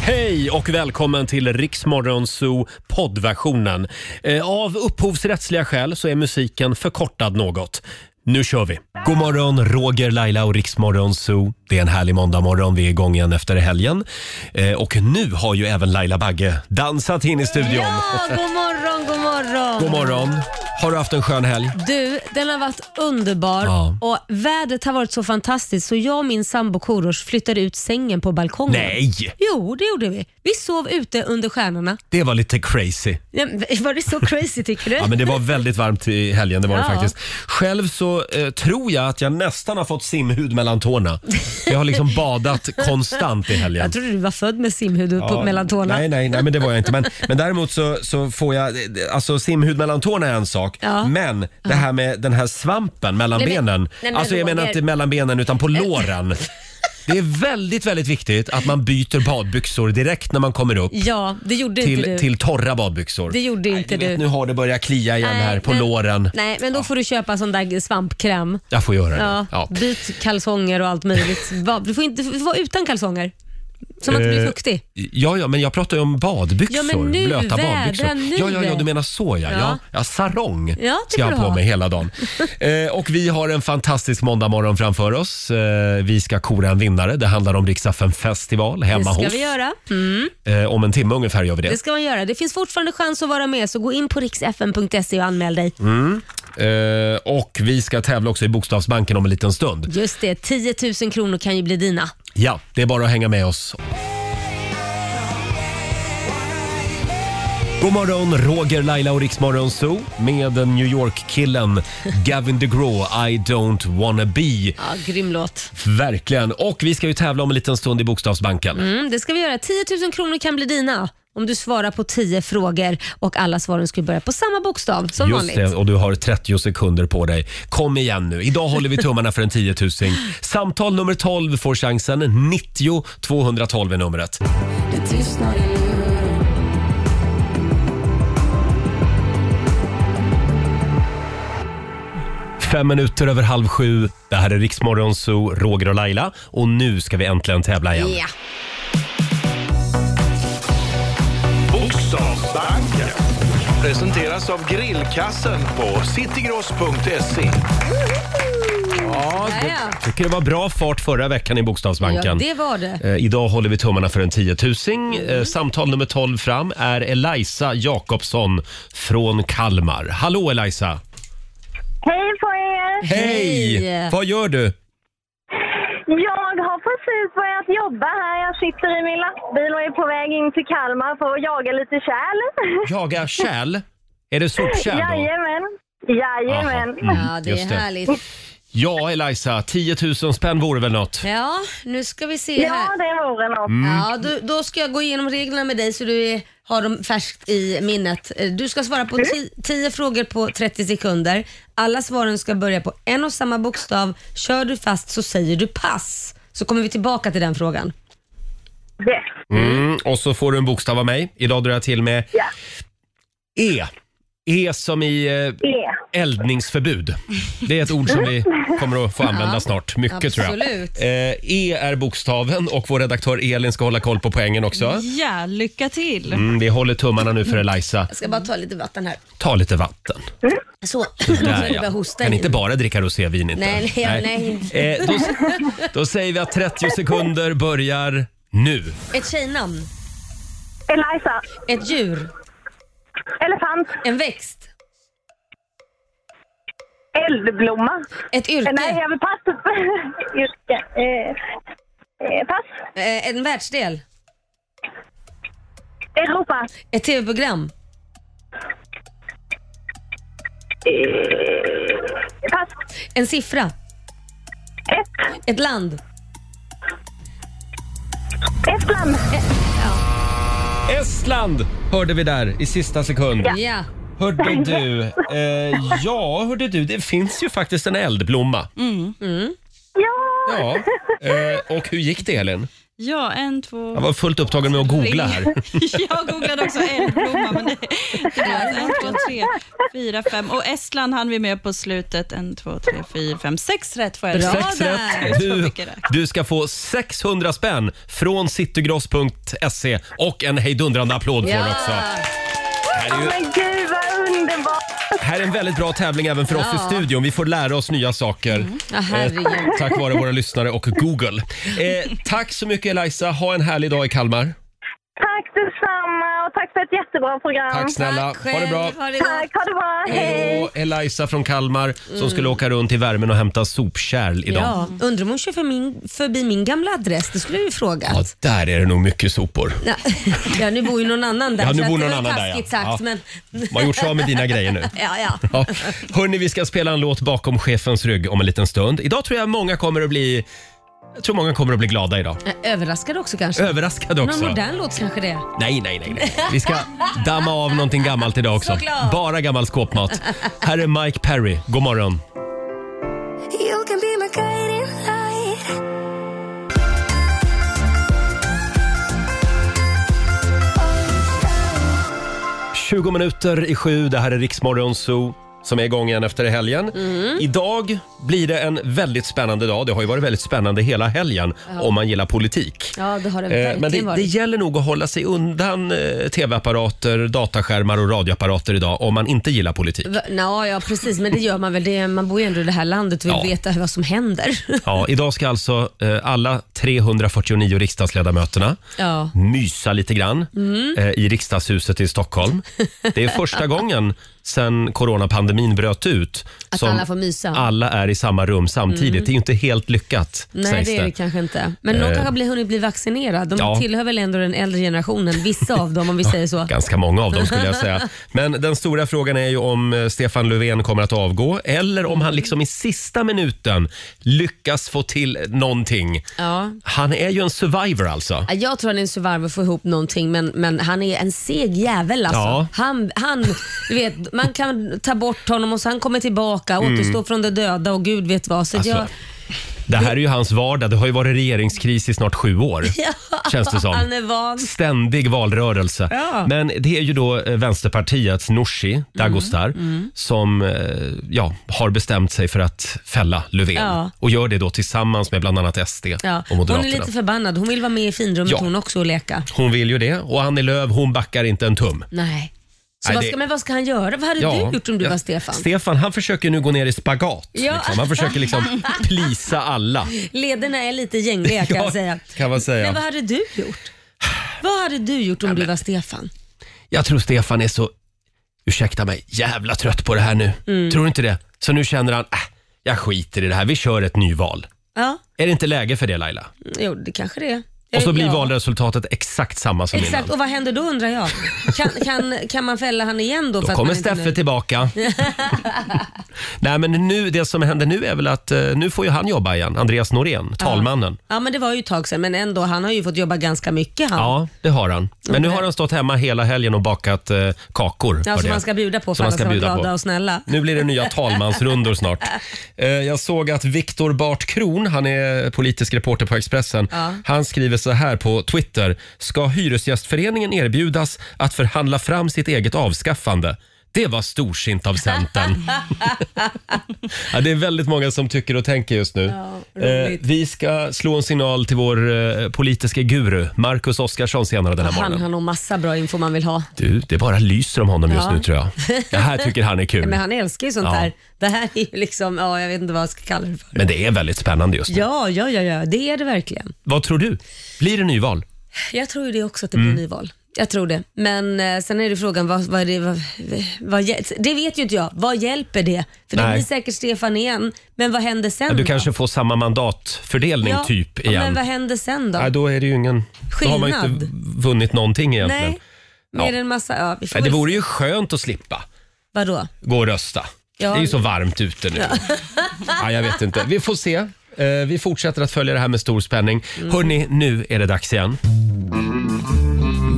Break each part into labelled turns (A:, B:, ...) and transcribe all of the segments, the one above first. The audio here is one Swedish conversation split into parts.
A: Hej och välkommen till Riksmorgon Zoo poddversionen. Eh, Av upphovsrättsliga skäl så är musiken förkortad något. Nu kör vi! God morgon, Roger, Laila och Riksmorgon Zoo. Det är en härlig måndagmorgon. Vi är igång igen efter helgen. Eh, Och nu har ju även Laila Bagge dansat in i studion.
B: Ja, god morgon, god morgon.
A: God morgon! Har du haft en skön helg?
B: Du, den har varit underbar
A: Ja.
B: och vädret har varit så fantastiskt så jag och min sambo Korosh flyttade ut sängen på balkongen.
A: Nej!
B: Jo, det gjorde vi. Vi sov ute under stjärnorna.
A: Det var lite crazy.
B: Ja, men Var det så crazy tycker du?
A: Ja, men det var väldigt varmt i helgen. Det var det
B: Ja.
A: faktiskt. Själv så eh, tror jag att jag nästan har fått simhud mellan tårna. Jag har liksom badat konstant i helgen.
B: Jag trodde du var född med simhud upp på mellan tårna.
A: Nej, nej, nej, men det var jag inte. Men, men däremot så, så får jag, alltså simhud mellan tårna är en sak,
B: Ja.
A: men det här med den här svampen mellan
B: Nej, men-
A: benen.
B: nej, men
A: alltså jag menar
B: Roger.
A: inte mellan benen utan på låren. Det är väldigt, väldigt viktigt att man byter badbyxor direkt när man kommer upp
B: Ja, det gjorde inte
A: till,
B: du.
A: till torra badbyxor.
B: Det gjorde
A: Nej,
B: inte
A: du vet,
B: du.
A: nu har det börjat klia igen
B: Nej,
A: här på
B: men-
A: låren.
B: Nej, men då får du köpa sån där svampkräm.
A: Jag får göra
B: Ja,
A: det. Ja.
B: Byt kalsonger och allt möjligt. Va- Du får inte du får vara utan kalsonger. Så man inte blir
A: Eh,
B: fuktig.
A: Ja, ja, men jag pratar ju om badbyxor.
B: Ja, men nu, vädra
A: blöta badbyxor.
B: nu.
A: Ja, ja, ja, du menar så ja. Ja,
B: Ja.
A: ja sarong
B: det
A: ska jag
B: får
A: ha
B: du
A: på
B: ha.
A: mig hela dagen. eh, och vi har en fantastisk måndagmorgon framför oss. Eh, vi ska kora en vinnare. Det handlar om Riksaffen festival hemma
B: Det ska
A: hos.
B: vi göra. Mm,
A: Eh, om en timme ungefär gör vi
B: det
A: det.
B: ska man göra. Det finns fortfarande chans att vara med, så gå in på riksfn.se och anmäl dig.
A: Eh, och vi ska tävla också i Bokstavsbanken om en liten stund.
B: Just det, 10 000 kronor kan ju bli dina.
A: Ja, det är bara att hänga med oss. God morgon, Roger, Laila och Riksmorgon Zoo med den New York-killen Gavin DeGraw, I don't wanna be.
B: Ja, grym låt.
A: Verkligen. Och vi ska ju tävla om en liten stund i Bokstavsbanken.
B: Mm, det ska vi göra. 10 000 kronor kan bli dina om du svarar på 10 frågor och alla svaren skulle börja på samma bokstav som
A: Just
B: vanligt.
A: det, och du har 30 sekunder på dig. Kom igen nu. Idag håller vi tummarna för en 10 000. Samtal nummer 12 får chansen. 90 212 är numret. Fem minuter över halv sju. Det här är Riksmorgon Zoo, Roger och Laila. Och nu ska vi äntligen tävla igen.
B: Ja.
C: Bokstavsbanken presenteras av grillkassen på citygross.se.
A: Ja,
B: Ja, ja.
A: jag tycker det var bra fart förra veckan i
B: ja,
A: Bokstavsbanken.
B: det Mm. var det.
A: Eh, Idag håller vi tummarna för en 10 000. Eh, Samtal nummer 12 fram är Elisa Jakobsson från Kalmar. Hallå Elisa!
D: Hej på er!
B: Hej!
A: Vad gör du?
D: Jag har precis börjat jobba här. Jag sitter i min lastbil och är på väg in till Kalmar för att jaga lite kärl.
A: Jaga kärl? Är det sopkärl då?
D: Jajamän.
A: Jaha,
D: Jajamän.
B: Ja, det är
A: just det.
B: härligt.
A: Ja, Elisa, 10 000 spänn vore väl något?
B: Ja, nu ska vi se
D: Ja,
B: här.
D: det vore något.
A: Mm.
B: Ja, du, då ska jag gå igenom reglerna med dig så du är, har dem färskt i minnet. Eh, Du ska svara på
D: Mm.
B: 10 frågor på 30 sekunder. Alla svaren ska börja på en och samma bokstav. Kör du fast så säger du pass. Så kommer vi tillbaka till den frågan.
D: Yes.
A: Mm, och så får du en bokstav av mig. Idag drar jag till med
D: Ja.
A: E. E som i eh,
D: Yeah.
A: eldningsförbud. Det är ett ord som vi kommer att få använda
B: Ja,
A: snart. Mycket tror jag.
B: absolut.
A: Eh, e är bokstaven och vår redaktör Elin ska hålla koll på poängen också.
E: Ja, lycka till.
A: Mm, vi håller tummarna nu för Elisa.
B: Jag ska bara ta lite vatten här.
A: Ta lite vatten.
B: Så, nu
A: Där,
B: börjar
A: ja.
B: hosta
A: Kan
B: igen.
A: inte bara dricka rosévin inte.
B: Nej, nej, nej.
A: Eh, då, då säger vi att 30 sekunder börjar nu.
B: Ett tjejnamn,
D: Eliza.
B: ett djur,
D: Elefant.
B: en växt,
D: Eldblomma.
B: ett
D: Nej,
B: yrke,
D: jag vill pass. Yrke. Eh, eh, pass.
B: eh, en världsdel,
D: Europa.
B: ett tv-program,
D: Eh, pass.
B: en siffra,
D: Ett.
B: ett land.
D: Estland.
B: Eh,
A: Estland hörde vi där i sista sekund.
B: Ja.
A: Hörde du? Eh, ja, hörde du. Det finns ju faktiskt
E: Mm.
A: en eldblomma.
D: Ja.
A: Ja. Eh, och hur gick det Elin?
E: Ja, en, två...
A: Jag var fullt upptagen med att googla här.
E: tre. Jag googlade också eldblomma, men det, det var alltså en, två, tre, fyra, fem. Och Estland hann vi med på slutet. En, två, tre, fyra, fem, sex rätt får jag.
B: Bra.
E: säga.
A: Sex
B: där.
A: rätt. Du, du ska få 600 spänn från citygross.se och en hejdundrande applåd får du också. Här är, ju,
D: Men gud vad underbart!
A: här är en väldigt bra tävling även för oss
B: Ja. Mm.
A: i studion. Vi får lära oss nya saker.
B: Ja, herregud.
A: Eh, tack vare våra lyssnare och Google. Eh, tack så mycket Elisa. Ha en härlig dag i Kalmar.
D: Tack detsamma och tack för ett jättebra program.
A: Tack snälla.
B: Tack
A: Ha det bra.
B: själv, Ha det gott.
D: Tack, ha det bra. Hej!
A: Och Elisa från Kalmar som skulle åka runt i värmen och hämta sopkärl idag. Ja.
B: Mm. Ja, undrar om hon kör för min, förbi min gamla adress? Det skulle jag ju frågat. Ja.
A: där är det nog mycket sopor.
B: Ja, nu bor ju någon annan där.
A: Ja, nu
B: så att
A: bor
B: det
A: någon
B: var
A: annan där,
B: taskigt
A: ja.
B: Sagt,
A: Ja.
B: Men,
A: De har gjort sig av med dina grejer nu.
B: ja, ja.
A: Ja. Hörni, vi ska spela en låt bakom chefens rygg om en liten stund. Idag tror jag många kommer att bli, jag tror många kommer att bli glada idag.
B: Eh, Överraskad också kanske.
A: Överraskade
B: Någon
A: också.
B: modern låt kanske det är.
A: Nej, nej, nej, nej. Vi ska damma av någonting gammalt idag också.
B: Såklart.
A: Bara gammal skåpmat. Här är Mike Perry. God morgon.
F: You can be my guiding light. Oh,
A: 20 minuter i sju. Det här är Riksmorgon Zoo som är igång igen efter helgen.
B: Mm.
A: Idag blir det en väldigt spännande dag. Det har ju varit väldigt spännande hela helgen om man gillar politik.
B: Ja, det har det
A: Eh,
B: verkligen
A: Men det,
B: varit.
A: det gäller nog att hålla sig undan eh, tv-apparater, dataskärmar och radioapparater idag om man inte gillar politik.
B: Va- Nå, ja, precis. Men det gör man väl. Det, man bor ju ändå i det här landet och vill
A: Ja.
B: veta vad som händer.
A: Ja, idag ska alltså eh, alla 349 riksdagsledamöterna
B: Ja.
A: mysa lite grann
B: Mm.
A: eh, i riksdagshuset i Stockholm. Det är första gången sen coronapandemin bröt ut
B: Att alla får mysa.
A: alla är i samma rum samtidigt. Det är ju inte helt lyckat,
B: Mm. Nej,
A: sägs Eh.
B: det är det kanske inte. Men någon kanske har hunnit bli vaccinerad. De
A: ja.
B: tillhör väl ändå den äldre generationen, vissa av dem om vi säger så.
A: Ganska många av dem skulle jag säga. Men den stora frågan är ju om eh, Stefan Löfven kommer att avgå eller om han liksom i sista minuten lyckas få till någonting.
B: Ja.
A: Han är ju en survivor alltså.
B: Ja, Jag tror han är en survivor för att få ihop någonting men, men han är en seg jävel alltså.
A: Ja.
B: Han, han, du vet, man kan ta bort honom och så han kommer tillbaka, återstår från de döda och gud vet vad. Så
A: Mm. Alltså,
B: jag,
A: Det här är ju hans vardag. Det har ju varit regeringskris i snart sju år. Känns det som.
B: Han är van.
A: Ständig valrörelse.
B: Ja.
A: Men det är ju då eh, Vänsterpartiets Nooshi Dagostar
B: Mm,
A: som eh, ja, har bestämt sig för att fälla Löfven.
B: Ja.
A: Och gör det då tillsammans med bland annat SD
B: Ja.
A: och
B: Hon är
A: Moderaterna.
B: lite förbannad. Hon vill vara med i finrummet
A: Ja.
B: hon också och leka.
A: Hon vill ju det och Annie Lööf hon backar inte en tum.
B: Nej. Så
A: Nej,
B: vad
A: det-
B: ska, Men vad ska han göra? Vad hade du gjort om du
A: Ja.
B: var Stefan?
A: Stefan han försöker nu gå ner i spagat.
B: Ja.
A: Liksom. Han försöker liksom plisa alla.
B: Lederna är lite gängliga kan
A: Ja,
B: jag säga.
A: kan man säga.
B: Men vad hade du gjort? Vad hade du gjort om du var Stefan?
A: Jag tror Stefan är så, ursäkta mig, jävla trött på det här nu.
B: Mm.
A: Tror du inte det? Så nu känner han, äh, jag skiter i det här, vi kör ett nyval.
B: Ja,
A: Är det inte läge för det Laila?
B: jo det kanske det är.
A: Och så blir
B: ja.
A: valresultatet exakt samma som
B: Exakt,
A: innan.
B: och vad händer då undrar jag? Kan, kan, kan man fälla han igen då?
A: Då kommer
B: man inte är
A: Steffe
B: nöjd?
A: tillbaka. Nej men nu, det som händer nu är väl att eh, nu får ju han jobba igen, Andreas Norén, talmannen.
B: Ja men det var ju ett tag sedan men ändå, han har ju fått jobba ganska mycket han.
A: Ja, det har han. Men nu
B: Okej.
A: har han stått hemma hela helgen och bakat eh, kakor.
B: Ja, som
A: hörde jag.
B: Alltså, man ska bjuda på för
A: Som man
B: alla
A: ska
B: ska vara
A: bjuda
B: glada
A: på.
B: och snälla.
A: Nu blir det nya talmansrundor snart. Eh, jag såg att Viktor Bart Kron, han är politisk reporter på Expressen,
B: Ja.
A: han skriver så här på Twitter. Ska Hyresgästföreningen erbjudas att förhandla fram sitt eget avskaffande? Det var storsint av Centern. ja, det är väldigt många som tycker och tänker just nu. Eh,
B: Ja, roligt.
A: vi ska slå en signal till vår eh, politiska guru, Marcus Oskarsson, senare den här
B: Han
A: morgonen.
B: har nog massa bra info man vill ha.
A: Du, det bara lyser om honom just
B: Ja.
A: nu tror jag. Det här tycker han är kul.
B: Men han älskar ju sånt
A: Ja.
B: här. Det här är ju liksom, ja jag vet inte vad jag ska kalla det för.
A: Men det är väldigt spännande just nu.
B: Ja, ja, ja, ja, det är det verkligen.
A: Vad tror du? Blir det nyval?
B: Jag tror ju det också att det blir
A: Mm.
B: nyval. Jag tror det. Men eh, sen är det frågan, vad, vad, är det, vad, vad, hjäl- det vet ju inte jag. Vad hjälper det? För det
A: Nej.
B: blir säkert Stefan igen, men vad händer sen
A: Du
B: då?
A: kanske får samma mandatfördelning
B: Ja,
A: typ
B: ja, Men
A: igen.
B: vad händer sen då?
A: Nej, då är det ju ingen... Då har man ju inte
B: Skillnad.
A: vunnit någonting egentligen.
B: Nej, mer
A: Ja.
B: än massa... Ja, vi får
A: Nej, det
B: väl-
A: vore ju skönt att slippa
B: Vadå?
A: gå och rösta.
B: Ja.
A: Det är ju så varmt ute nu. Ja. jag vet inte. Vi får se. Eh, Vi fortsätter att följa det här med stor spänning.
B: Mm.
A: Hörni, nu är det dags igen.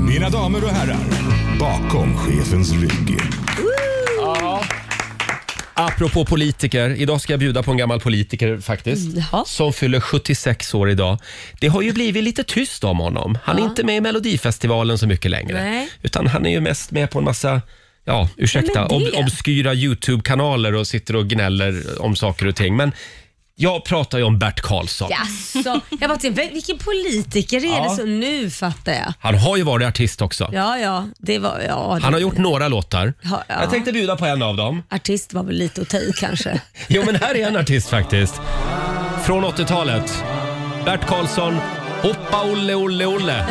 G: Mina damer och herrar, bakom chefens rygg.
A: Apropå politiker, idag ska jag bjuda på en gammal politiker faktiskt.
B: Mm, jaha.
A: Som fyller 76 år idag. Det har ju blivit lite tyst om honom. Han är inte med i Melodifestivalen så mycket längre.
B: Nej.
A: Utan han är ju mest med på en massa Ja, ursäkta,
B: men
A: ob
B: det-
A: obskyra YouTube-kanaler och sitter och gnäller om saker och ting. Men jag pratar ju om Bert Karlsson.
B: Jaså? Jag bara tänkte, vilken politiker är
A: Ja.
B: det som... Nu fattar jag.
A: Han har ju varit artist också.
B: Ja, ja. Det var... Ja, det,
A: Han har gjort några låtar.
B: Ja, ja.
A: Jag tänkte bjuda på en av dem.
B: Artist var väl lite att ta i kanske.
A: Jo, men här är en artist faktiskt. Från 80-talet. Bert Karlsson. Hoppa Olle Olle Olle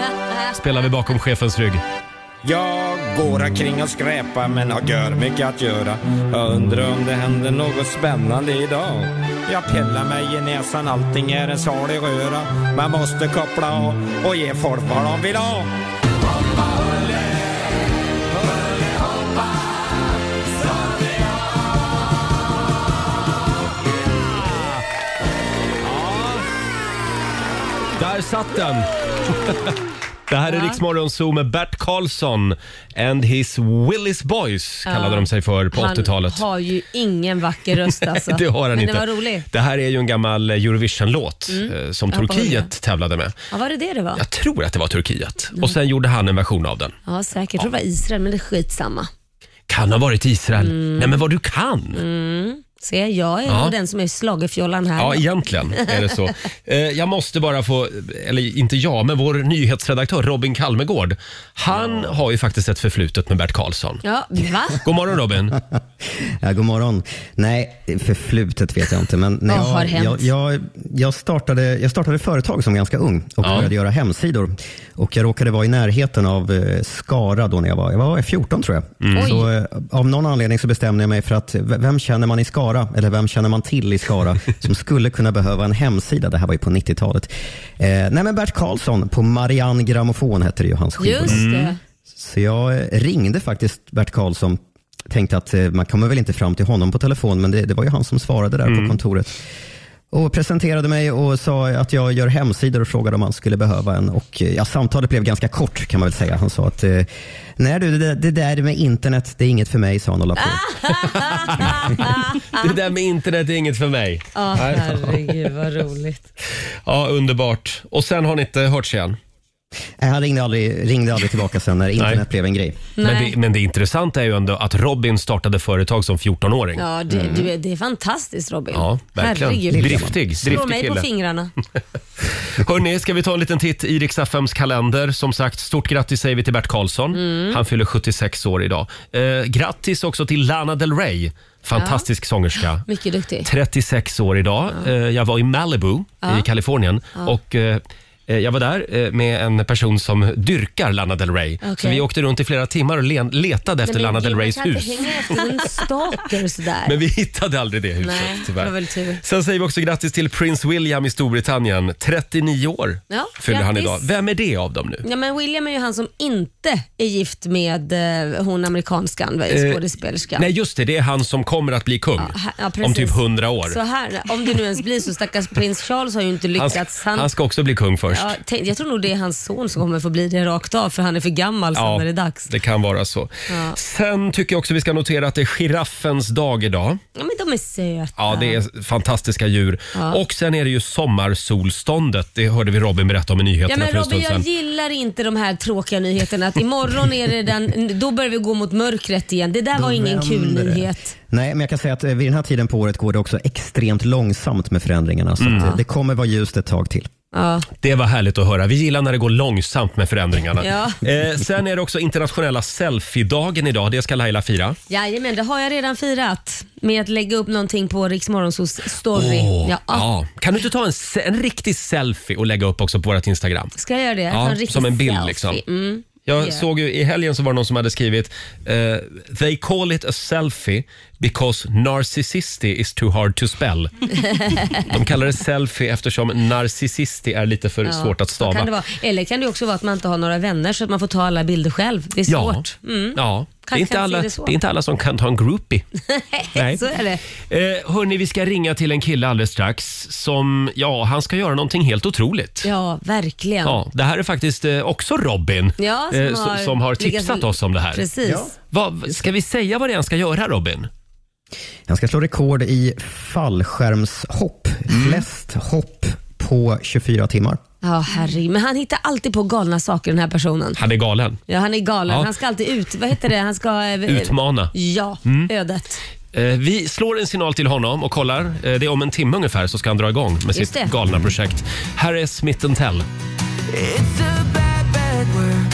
A: spelar vi bakom chefens rygg.
G: Jag går omkring och skräpar men har gör mycket att göra. Jag undrar om det händer något spännande idag. Jag pillar mig i näsan, allting är en salig röra. Man måste koppla av och ge folk vad de vill ha.
A: Där satt den! Det här är Rix Morgon Zoo med Bert Karlsson and his Willis Boys kallade de sig för på 80-talet.
B: Han har ju ingen vacker röst alltså.
A: Det har han
B: Men
A: inte.
B: det var rolig. Mm.
A: Det här är ju en gammal Eurovision-låt eh, som
B: Jag hoppar
A: Turkiet
B: över.
A: tävlade med.
B: Ja, var det det det var?
A: Jag tror att det var Turkiet.
B: Mm.
A: Och sen gjorde han en version av den.
B: Ja, säkert. Jag tror det var Israel, men det är skitsamma.
A: Kan ha varit Israel.
B: Mm.
A: Nej men vad du kan!
B: Se, jag är
A: Ja.
B: nog den som är schlagerfjollan här.
A: Ja, egentligen är det så. Eh, Jag måste bara få, eller inte jag, men vår nyhetsredaktör Robin Kalmegård. Han har ju faktiskt ett förflutet med Bert Karlsson.
B: Ja, va?
A: God morgon Robin.
H: Ja, god morgon. Nej, förflutet vet jag inte. Men när
B: Vad
H: jag,
B: har hänt?
H: Jag, jag, jag, startade, jag startade företag som ganska ung och
A: Ja.
H: började göra hemsidor. Och jag råkade vara i närheten av eh, Skara då när jag var, jag var 14 tror jag.
B: Mm. Oj.
H: Så, eh, av någon anledning så bestämde jag mig för att v- vem känner man i Skara, eller vem känner man till i Skara, som skulle kunna behöva en hemsida? Det här var ju på 90-talet. Eh, nej, men Bert Karlsson på Marianne Grammofon hette det ju, hans skivbolag.
B: Just det.
H: Mm. Så jag eh, ringde faktiskt Bert Karlsson. Tänkte att eh, man kommer väl inte fram till honom på telefon, men det, det var ju han som svarade där
B: Mm.
H: på kontoret. Och presenterade mig och sa att jag gör hemsidor och frågade om han skulle behöva en. Och, eh, ja, samtalet blev ganska kort kan man väl säga. Han sa att, eh, nej du, det, det där med internet, det är inget för mig, sa han och la på.
A: Det där med internet är inget för mig.
B: Ja, herregud vad roligt.
A: Ja, underbart. Och sen har ni inte hörts igen.
H: Nej, Han ringde aldrig, ringde aldrig tillbaka sen när internet
A: Nej.
H: blev en grej.
A: Men det, men det intressanta är ju ändå att Robin startade företag som 14-åring. Ja,
B: Ja, det, du, är- det är fantastiskt Robin.
A: verkligen.
B: Herregud.
A: Driftig,
B: Slå
A: driftig
B: mig på
A: kille.
B: fingrarna.
A: Hörni, ska vi ta en liten titt i Rix FMs kalender? Som sagt, stort grattis säger vi till Bert Karlsson.
B: Mm.
A: Han fyller 76 år idag. Eh, grattis också till Lana Del Rey, fantastisk sångerska.
B: Mycket duktig.
A: 36 år idag. Eh, jag var i Malibu i Kalifornien och eh, eh, jag var där eh, med en person som dyrkar Lana Del Rey. Så
B: Okej.
A: vi åkte runt i flera timmar och len- letade efter
B: Nej, men
A: Lana
B: gud,
A: Del
B: man
A: Reys
B: kan inte
A: hus.
B: hänga efter en stalker sådär.
A: Men vi hittade aldrig det huset
B: Nej, det var
A: tyvärr.
B: väl tur.
A: Sen säger vi också grattis till prins William i Storbritannien. 39 år
B: Ja,
A: fyller han
B: grattis.
A: idag. Vem är det av dem nu?
B: Ja, men William är ju han som inte är gift med eh, hon amerikanskan, vad är skådespelerskan.
A: Eh, Nej just det, det är han som kommer att bli kung
B: Ja, ha- ja,
A: om
B: precis.
A: typ 100 år.
B: Så här, om det nu ens blir så, stackars prins Charles har ju inte
A: Han,
B: lyckats.
A: ska- han ska också bli kung först.
B: ja, tänk, jag tror nog det är hans son som kommer få bli det rakt av för han är för gammal sen när det är dags.
A: det kan vara så.
B: Ja.
A: Sen tycker jag också vi ska notera att det är giraffens dag idag.
B: Ja, men de är söta.
A: Ja, det är fantastiska djur. Och sen är det ju sommarsolståndet. Det hörde vi Robin berätta om i
B: Ja,
A: nyheterna
B: men
A: för en
B: Robin,
A: stund
B: jag
A: sedan.
B: gillar inte de här tråkiga nyheterna att imorgon är det den, då börjar vi gå mot mörkret igen. Det där var ingen kul
H: vänder det.
B: nyhet.
H: Nej, men jag kan säga att eh, vid den här tiden på året går det också extremt långsamt med förändringarna. Så
A: Mm.
H: att, eh, det kommer vara ljust ett tag till.
B: Ja.
A: Det var härligt att höra. Vi gillar när det går långsamt med förändringarna.
B: Ja.
A: Eh, sen är det också internationella selfiedagen idag. Det ska Laila fira.
B: Jajamän, det har jag redan firat med att lägga upp någonting på Riksmorgonsos story.
A: Åh,
B: ja,
A: ja. Kan du inte ta en, se- en riktig selfie och lägga upp också på vårt Instagram?
B: Ska jag göra det?
A: Ja,
B: riktig
A: som en bild
B: selfie.
A: liksom.
B: Mm.
A: Jag
B: Yeah.
A: såg ju i helgen så var det någon som hade skrivit eh, “They call it a selfie because narcissisti is too hard to spell”. De kallar det selfie eftersom narcissisti är lite för
B: Ja,
A: svårt att
B: så Kan det
A: stava.
B: vara. Eller kan det också vara att man inte har några vänner så att man får ta alla bilder själv. Det är
A: Ja,
B: svårt. Mm.
A: ja. Det, är
B: Kanske
A: inte
B: kan
A: alla,
B: se
A: det,
B: det så.
A: är inte alla som kan ta en groupie. Nej.
B: Så är det.
A: Eh, hörni, vi ska ringa till en kille alldeles strax som, ja, han ska göra någonting helt otroligt.
B: Ja, verkligen.
A: Ja, det här är faktiskt eh, också Robin eh,
B: Ja, som
A: s-
B: har
A: som har
B: lyckats-
A: tipsat oss om det här.
B: Precis.
H: Ja.
A: Vad, ska vi säga vad det är han ska göra Robin?
H: Han ska slå rekord i fallskärmshopp.
A: Mm.
H: Flest hopp på 24 timmar.
B: Ja, herregud. Men han hittar alltid på galna saker den här personen.
A: Han är galen.
B: Ja, han är galen.
A: Ja.
B: Han ska alltid ut... Vad heter det? Han ska... eh,
A: Utmana. Mm.
B: Ja, ödet.
A: Eh, Vi slår en signal till honom och kollar. Eh, Det är om en timme ungefär så ska han dra igång med sitt
B: det.
A: galna projekt. Här är Smith Tell.
I: It's a bad, bad word.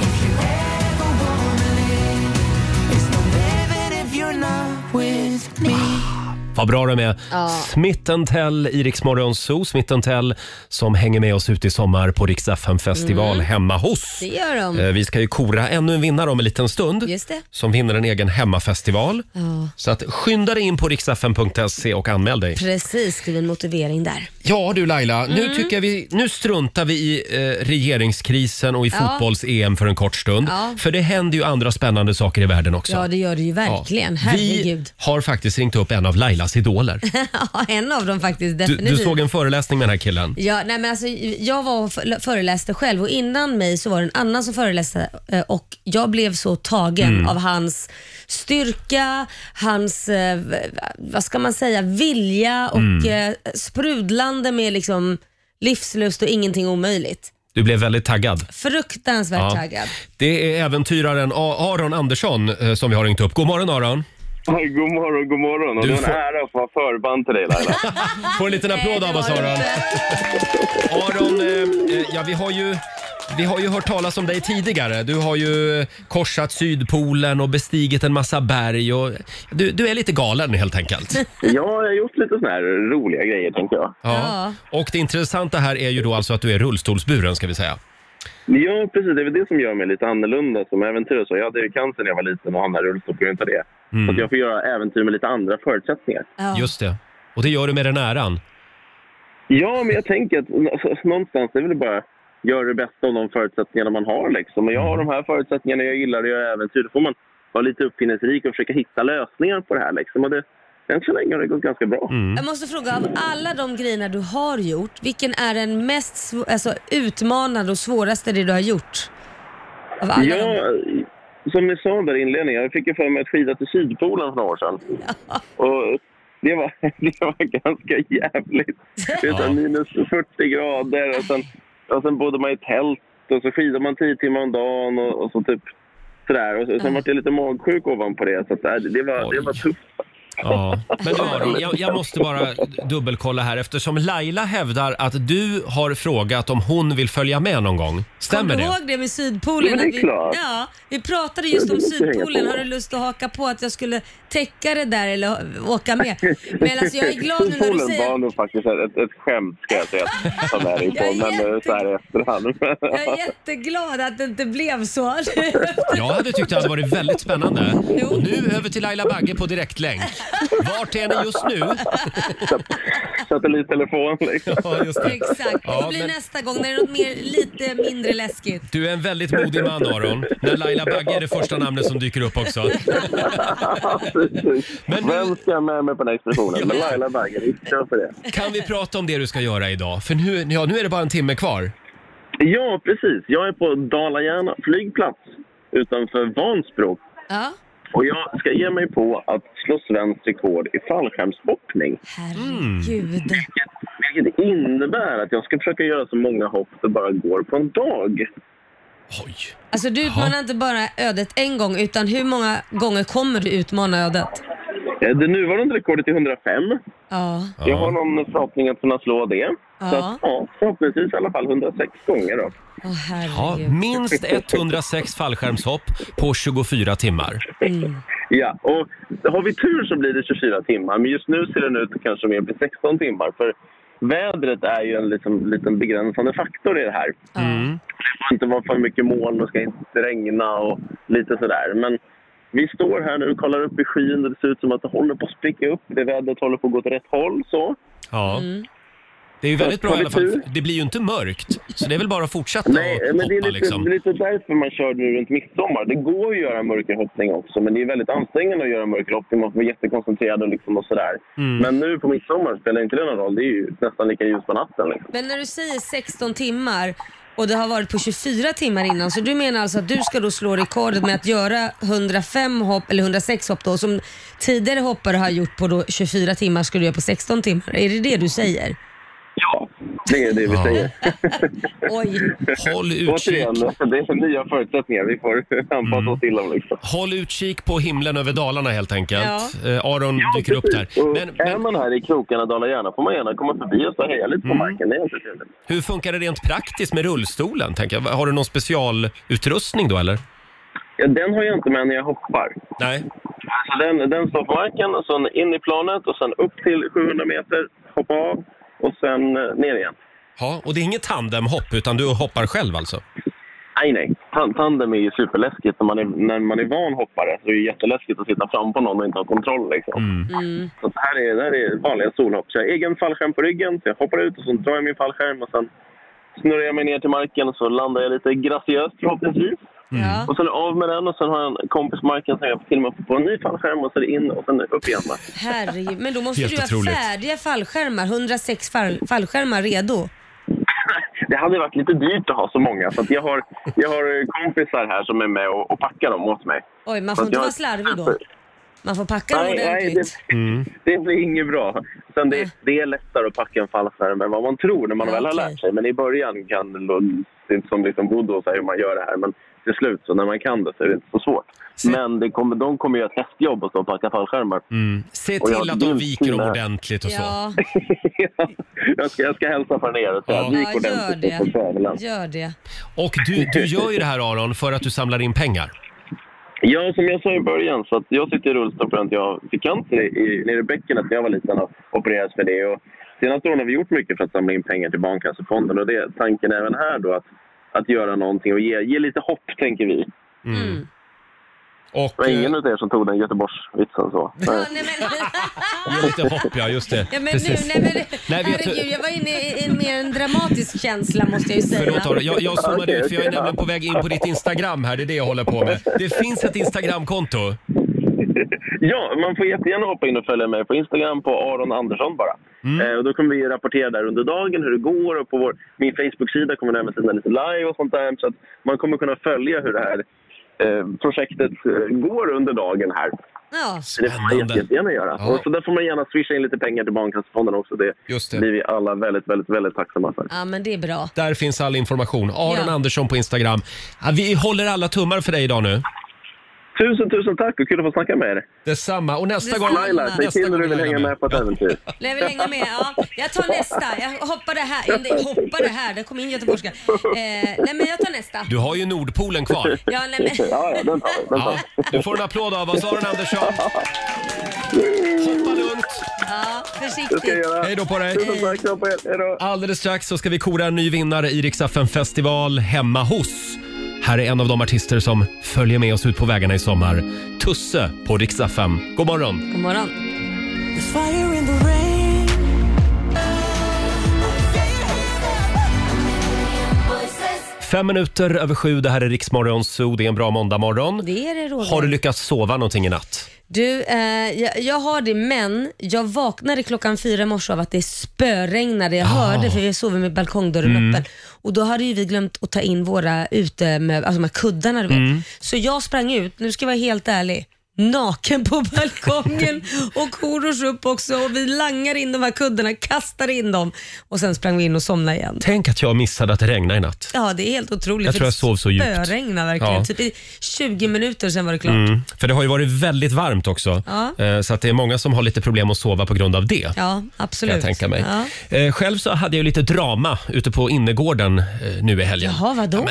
I: If you ever wanna live, it's no living if you're not with me.
A: Vad bra de är. Smith Tell i Rix Morgon Zoo. Smith Tell som hänger med oss ut i sommar på Rix FM festival hemma hos.
B: Mm. Det gör de.
A: Eh, Vi ska ju kora ännu en vinnare om en liten stund.
B: Just det.
A: Som vinner en egen hemmafestival. Så att skynda dig in på riksfn.se och anmäl dig.
B: Precis, skriv en motivering där.
A: Ja du Laila,
B: Mm.
A: nu, tycker jag vi, nu struntar vi i eh, regeringskrisen och i
B: Ja.
A: fotbolls-EM för en kort stund.
B: Ja.
A: För det händer ju andra spännande saker i världen också.
B: Ja, det gör det ju
A: Ja.
B: verkligen.
A: Vi
B: Herregud.
A: har faktiskt ringt upp en av Lailas idoler.
B: Ja, en av dem faktiskt.
A: Du,
B: Definitivt.
A: du såg en föreläsning med den här killen.
B: Ja, nej men alltså, jag var och f- föreläste själv och innan mig så var det en annan som föreläste eh, och jag blev så tagen av hans styrka, hans, eh, v- vad ska man säga, vilja och eh, sprudlande med liksom livslust och ingenting omöjligt.
A: Du blev väldigt taggad.
B: Fruktansvärt
A: Ja.
B: taggad.
A: Det är äventyraren A- Aron Andersson eh, som vi har ringt upp. God morgon Aron!
J: Oj, God morgon, god morgon. Och
A: Du
J: det var
A: får-
J: en ära att få vara förband till dig Laila.
A: Får en liten applåd av oss Aron. Aron, eh, eh, ja, vi, har ju, vi har ju hört talas om dig tidigare. Du har ju eh, korsat Sydpolen och bestigit en massa berg. Och, du, du är lite galen helt enkelt.
J: Ja, jag har gjort lite såna här roliga grejer tänker jag.
A: Ja. Och det intressanta här är ju då alltså att du är rullstolsburen ska vi säga.
J: Ja, precis. Det är väl det som gör mig lite annorlunda som äventyrare. Så jag hade ju cancer när jag var liten och hamnade i rullstol på grund av det.
A: Mm.
J: Så att jag får göra äventyr med lite andra förutsättningar.
B: Ja.
A: Just det. Och det gör du med den äran.
J: Ja, men jag tänker att n- alltså, någonstans är det väl bara göra det bästa av de förutsättningarna man har. Liksom. Och jag har de här förutsättningarna, jag gillar att göra äventyr. Då får man vara lite uppfinningsrik och försöka hitta lösningar på det här. Liksom. Och det, än så länge har det gått ganska bra.
A: Mm.
B: Jag måste fråga, av alla de grejerna du har gjort, vilken är den mest sv- alltså, utmanande och svåraste det du har gjort? Av alla de-
J: Ja, som ni sa där i inledningen, jag fick ju för mig att skida till Sydpolen för några år sedan. Och det var, det var ganska jävligt. Det är så här minus 40 grader och sen, och sen bodde man i tält och så skidade man 10 timmar om dagen och, och så typ sådär. Och så, sen vart jag lite magsjuk ovanpå det. Så att, nej, det, var, det var
A: Oj.
J: tufft.
A: Ja. Men du Aron, jag, jag måste bara dubbelkolla här eftersom Laila hävdar att du har frågat om hon vill följa med någon gång. Stämmer
B: Kommer du
A: det?
B: ihåg det med Sydpolen?
J: Ja, men det är
B: Att vi,
J: klart.
B: ja, vi pratade just
J: Ja,
B: om
J: det måste jag hänga
B: Sydpolen.
J: på.
B: Har du lust att haka på att jag skulle täcka det där eller åka med? Men alltså jag är glad nu när du
J: Sydpolen var
B: säger
J: nog faktiskt ett, ett skämt ska jag säga. Som är in på,
B: Jag är
J: men eh, så här i efterhand.
B: jag är jätteglad att det inte blev så.
A: Jag hade tyckt det hade varit väldigt spännande. Och nu över till Laila Bagge på direktlänk. Vart är ni just nu?
J: Satellittelefon liksom.
A: Ja, just det.
B: Exakt.
A: Ja,
B: Det blir
A: men-
B: nästa gång när det är något mer, lite mindre läskigt.
A: Du är en väldigt modig man Aron. När Laila Bagge är det första namnet som dyker upp också.
J: Precis.
A: Men du-
J: Vem ska jag med mig på den här expeditionen? Men Laila Bagge, vi kör för det.
A: Kan vi prata om det du ska göra idag? För nu, ja, nu är det bara en timme kvar.
J: Ja, precis. Jag är på Dala-Järna flygplats utanför Vansbro.
B: Ja.
J: Och jag ska ge mig på att slå svenskt rekord i fallskärmshoppning.
B: Herregud.
J: Vilket innebär att jag ska försöka göra så många hopp det bara går på en dag.
A: Oj.
B: Alltså du utmanar inte bara ödet en gång utan hur många gånger kommer du utmana ödet?
J: Eh, Det nuvarande rekordet är 105.
B: Ja.
J: Jag har någon förhoppning att kunna slå det. Så
B: Ja.
J: att, ja, förhoppningsvis i alla fall 106 gånger då.
B: Åh
A: Ja,
B: herregud.
A: minst 106 fallskärmshopp på 24 timmar.
J: Ja, och har vi tur så blir det 24 timmar, men just nu ser den ut att kanske mer bli 16 timmar. För vädret är ju en liksom, liten begränsande faktor i det här. Det får inte vara för mycket moln och ska inte regna och lite sådär. Men vi står här nu och kollar upp i skyn och det ser ut som att det håller på att spricka upp. Det vädret håller på att gå åt rätt håll. Så.
A: Ja. Det är ju väldigt bra i alla fall. Det blir ju inte mörkt, så det är väl bara att fortsätta
J: Nej,
A: och
J: men det är,
A: hoppa
J: lite, det
A: liksom.
J: är lite därför man kör nu runt midsommar. Det går att göra mörkerhoppning också, men det är väldigt ansträngande att göra mörkerhoppning. Man får vara jättekoncentrerad och, liksom och sådär.
A: Mm.
J: Men nu på midsommar spelar inte det någon roll. Det är ju nästan lika ljus på natten. Liksom.
B: Men när du säger 16 timmar, och det har varit på 24 timmar innan. Så du menar alltså att du ska då slå rekordet med att göra 105 hopp, eller 106 hopp då, som tidigare hoppare har gjort på då 24 timmar, ska du göra på 16 timmar. Är det det du säger?
J: Det är det vi
B: Ja.
J: säger.
B: Oj.
A: Håll
J: Återigen, det är nya förutsättningar. Vi får anpassa
A: Mm.
J: oss till dem. Liksom.
A: Håll utkik på himlen över Dalarna helt enkelt.
J: Ja.
A: Eh, Aron dyker upp där.
J: Och är man här i krokarna Dala-Järna får man gärna komma förbi och så heja lite på
A: Mm.
J: marken. Det är alltid trevligt.
A: Hur funkar det rent praktiskt med rullstolen? Tänker jag? Har du någon specialutrustning då eller?
J: Ja, den har jag inte med när jag hoppar.
A: Nej.
J: Alltså den, den står på marken, och sen in i planet och sen upp till 700 meter, hoppa av och sen eh, ner igen.
A: Ja, och det är inget tandemhopp utan du hoppar själv alltså?
J: Nej, nej. Tan- Tandem är ju superläskigt. När man är, när man är van hoppare så är det jätteläskigt att sitta fram på någon och inte ha kontroll.
I: Mm.
J: Liksom. Så det här är, det här är vanliga solhopp. Så jag har egen fallskärm på ryggen, så jag hoppar ut och så drar jag min fallskärm och sen snurrar jag mig ner till marken och så landar jag lite graciöst förhoppningsvis. Och sen av med den och sen har jag en kompis på marken som jag till och med upp på en ny fallskärm och sen in och sen upp igen. va.
B: Herregud. Men då måste
J: Helt
B: du ha
J: otroligt.
B: färdiga fallskärmar, 106 fall, fallskärmar redo.
J: Det hade varit lite dyrt att ha så många så att jag, har, jag har kompisar här som är med och, och packar dem åt mig.
B: Oj, man
J: Så
B: får
J: att
B: inte
J: jag-
B: vara slarvig då. Man får packa dem
J: Nej, nej,
B: ordentligt.
J: det,
A: Mm.
J: det blir inget bra. Sen det, det är lättare att packa en fallskärm än vad man tror när man väl har lärt sig. Men i början kan det lå- det är inte som liksom Bodo säger hur man gör det här. Men till slut, så när man kan det, så är det inte så svårt. Men det kommer, de kommer göra ett hästjobb och stå och packa fallskärmar.
A: Mm. Se
J: Och jag
A: till att de
J: vill
A: viker dem
J: kunna-
A: ordentligt och så.
B: Ja,
J: Jag ska, jag ska hälsa från er och säga att vi
B: ja
J: gick
B: gör
J: ordentligt på
B: det.
J: tävlan.
B: Gör det.
A: Och du, du gör ju det här Aron för att du samlar in pengar.
J: Ja, som jag sa i början, så att jag sitter i rullstol för att jag fick cancer i, i, nere i bäckenet när jag var liten och opererades för det. Och senaste åren har vi gjort mycket för att samla in pengar till Barncancerfonden och det är tanken även här då att, att göra någonting och ge, ge lite hopp, tänker vi.
A: Och,
J: det var
A: eh,
J: ingen av er som tog den Göteborgsvitsen så. Nej.
A: Ge lite hopp ja, just det.
B: Ja, men nu,
A: Precis.
B: nej, men,
A: Nej, vet du-
B: herregud, jag var inne i, i mer en dramatisk känsla måste jag ju säga.
A: Förlåt Aron, jag, jag zoomade ut för jag är nämligen på väg in på ditt Instagram här, det är det jag håller på med. Det finns ett Instagramkonto.
J: Ja, man får jättegärna hoppa in och följa mig på Instagram på Aron Andersson bara.
A: Mm.
J: Eh, och då kommer vi rapportera där under dagen hur det går och på vår, min Facebook-sida kommer det även sända lite live och sånt där. Så att man kommer kunna följa hur det här eh, projektet eh, går under dagen här.
B: Ja.
J: Så Det får man jätte- jättegärna göra.
A: Ja.
J: Och så där får man gärna swisha in lite pengar till Barncancerfonden också. Det,
A: det
J: blir vi alla väldigt, väldigt, väldigt tacksamma för.
B: Ja, men det är bra.
A: Där finns all information. Aron
B: Ja.
A: Andersson på Instagram. Ja, vi håller alla tummar för dig idag nu.
J: Tusen, tusen tack och kul att få snacka med er.
A: Detsamma. Och nästa
B: Detsamma.
A: gång...
B: Laila, säg
A: nästa
J: till när du vill
A: gång Laila
J: hänga med på ett äventyr.
B: Nej, Jag vill hänga med. Ja, jag tar nästa. Jag hoppar det här. Ja, det- Hoppar det här. Det kom in göteborgska. Eh, nej, men jag tar nästa.
A: Du har ju Nordpolen kvar.
B: Ja, nej, men...
J: Ja, ja, den tar vi. Den tar vi.
A: Du får en applåd av oss, Aron Andersson. Hoppa lugnt.
B: Ja,
J: Det ska jag
B: försiktigt.
J: göra.
A: Hej då på dig.
J: Tusen tack, kram på er. Hej då.
A: Alldeles strax så ska vi kora en ny vinnare i Riksaffen festival hemma hos. Här är en av de artister som följer med oss ut på vägarna i sommar. Tusse på Riksaffen. God morgon!
B: God morgon.
I: There's fire in the rain.
A: Fem minuter över sju, det här är Riksmorgon Zoo. Det är en bra måndagmorgon.
B: Det är det, Roger.
A: Har du lyckats sova någonting i natt?
B: Du, eh, jag, jag har det men jag vaknade klockan fyra i morse av att det spöregnade.
A: Ah.
B: Jag hörde för vi sover med balkongdörren
I: Mm.
B: öppen. Och då hade ju vi glömt att ta in våra utemöbler, alltså de här kuddarna du vet.
I: Mm.
B: Så jag sprang ut, nu ska jag vara helt ärlig, naken på balkongen och Korosh upp också och vi langar in de här kuddarna, kastar in dem och sen sprang vi in och somnade igen.
A: Tänk att jag missade att det regnade i natt.
B: Ja, det är helt otroligt.
A: Jag
B: för
A: tror
B: det
A: jag sov så djupt.
B: Spöregnade verkligen.
A: Ja.
B: Typ i 20 minuter sen var det klart.
A: Mm. För det har ju varit väldigt varmt också.
B: Ja.
A: Eh, Så att det är många som har lite problem att sova på grund av det.
B: Ja,
A: Kan
B: absolut.
A: jag tänka mig.
B: Ja.
A: Eh, Själv så hade jag ju lite drama ute på innergården eh, nu i helgen.
B: Jaha, vadå?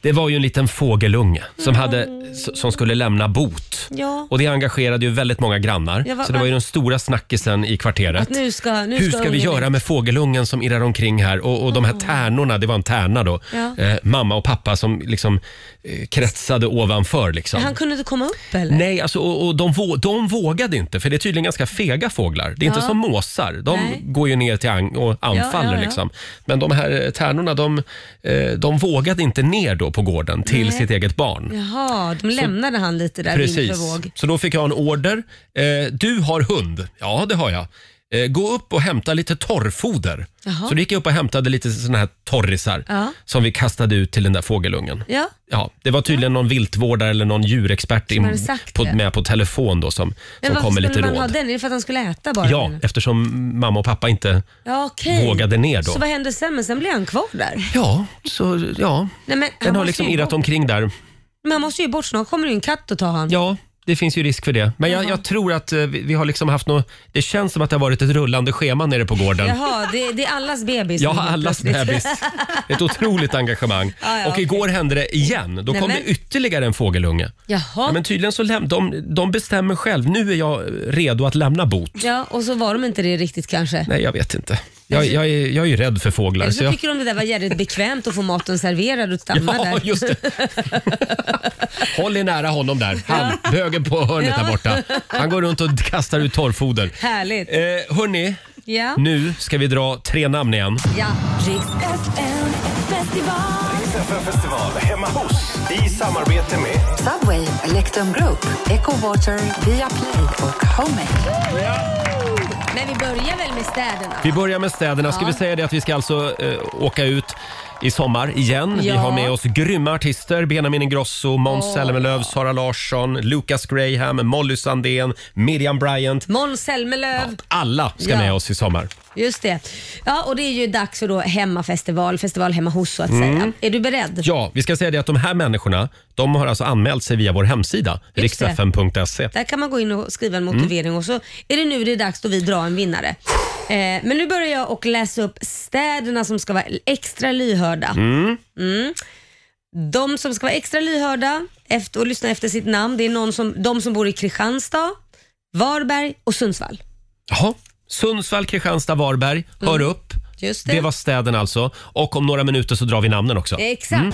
A: Det var ju en liten fågelunge
B: Mm.
A: som, hade, s- som skulle lämna bot.
B: Ja.
A: Och det engagerade ju väldigt många grannar.
B: Ja, va-
A: så det var ju
B: va-
A: den stora snackisen i kvarteret.
B: Att nu ska, nu
A: Hur ska vi
B: ungen
A: göra
B: ut.
A: med fågelungen som irrar omkring här och, och de här tärnorna, det var en tärna då.
B: Ja.
A: Eh, mamma och pappa som liksom eh, kretsade ovanför liksom.
B: Han kunde inte komma upp eller?
A: Nej, alltså, och, och de, vå- de vågade inte för det är tydligen ganska fega fåglar. Det är
B: Ja.
A: inte som måsar, de
B: Nej.
A: går ju ner till ang- och anfaller
B: ja, ja.
A: liksom. Men de här eh, tärnorna, de, eh, de vågade inte ner då på gården till
B: Nej.
A: sitt eget barn.
B: Jaha, de lämnade han lite där vind för
A: Mm. Precis.
B: våg.
A: Så då fick jag en order. Eh, du har hund. Ja, det har jag. eh, gå upp och hämta lite torrfoder.
B: Jaha.
A: Så då gick jag upp och hämtade lite såna här torrisar
B: Ja.
A: som vi kastade ut till den där fågelungen.
B: Ja.
A: Ja, det var tydligen någon viltvårdare eller någon djurexpert
B: Som
A: in-
B: hade sagt
A: på,
B: det.
A: med på telefon då som, som
B: varför
A: kom med
B: skulle
A: lite
B: man ha
A: råd.
B: den? Är det för att han skulle äta bara?
A: Ja, eftersom mamma och pappa inte
B: ja okej.
A: vågade ner då.
B: Så vad hände sen? Men sen blev han kvar där?
A: Ja, så ja.
B: Nej, men han
A: Den har
B: måste
A: liksom
B: ju
A: irrat
B: bort.
A: omkring där.
B: Men han måste ju bort. Snart kommer det ju en katt och tar han.
A: Ja, det finns ju risk för det. Men jag, jag tror att eh, vi, vi har liksom haft något... Det känns som att det har varit ett rullande schema nere på gården.
B: Jaha, det, det är allas bebis.
A: Jag
B: nu
A: har
B: helt
A: allas
B: plötsligt.
A: bebis. Ett otroligt engagemang.
B: Ja, ja,
A: och igår hände det igen. Då
B: Nej,
A: kom
B: men-
A: det ytterligare en fågelunge.
B: Jaha.
A: Ja, men tydligen så läm- de, de bestämmer själv. Nu är jag redo att lämna bot.
B: Ja, och så var de inte det riktigt kanske.
A: Nej, jag vet inte. Jag, jag, är, jag är ju rädd för fåglar.
B: Eller så
A: Så jag,
B: tycker de det där var jävligt bekvämt att få maten serverad och stanna
A: Ja,
B: där.
A: just det. håll er nära honom där. Han, bögen på hörnet där
B: Ja.
A: borta. Han går runt och kastar ut torrfoder.
B: Härligt.
A: Eh, hörni,
B: Ja.
A: nu ska vi dra tre namn igen.
B: Ja.
I: Riks FM festival.
C: festival hemma hos i samarbete med
K: Subway, Electrum Group, Echo Water, Viaplay och Homemade.
B: Men vi börjar väl med städerna?
A: Vi börjar med städerna. Ska
B: Ja.
A: vi säga det att vi ska alltså eh, åka ut i sommar igen. Vi
B: Ja.
A: har med oss grymma artister. Benjamin Ingrosso, Måns
B: Åh.
A: Zelmerlöw, Sara Larsson, Lucas Graham, Molly Sandén, Miriam Bryant.
B: Måns Zelmerlöw.
A: Alla ska
B: Ja.
A: med oss i sommar.
B: Just det. Ja, och det är ju dags för då hemmafestival, festival hemma hos så att
A: Mm.
B: säga. Är du beredd?
A: Ja, vi ska säga det att de här människorna, de har alltså anmält sig via vår hemsida,
B: Just det.
A: riksfm.se.
B: Där kan man gå in och skriva
A: Mm.
B: en motivering och så är det nu det är dags då vi drar en vinnare. Eh, men nu börjar jag och läsa upp städerna som ska vara extra lyhörda.
I: Mm.
B: Mm. De som ska vara extra lyhörda efter, och lyssna efter sitt namn, det är någon som, de som bor i Kristianstad, Varberg och Sundsvall.
A: Jaha, Sundsvall, Kristianstad, Varberg. Hör
B: Mm.
A: upp.
B: Just det. Eh.
A: Det. var städerna alltså. Och om några minuter så drar vi namnen också.
B: Exakt.
A: Mm.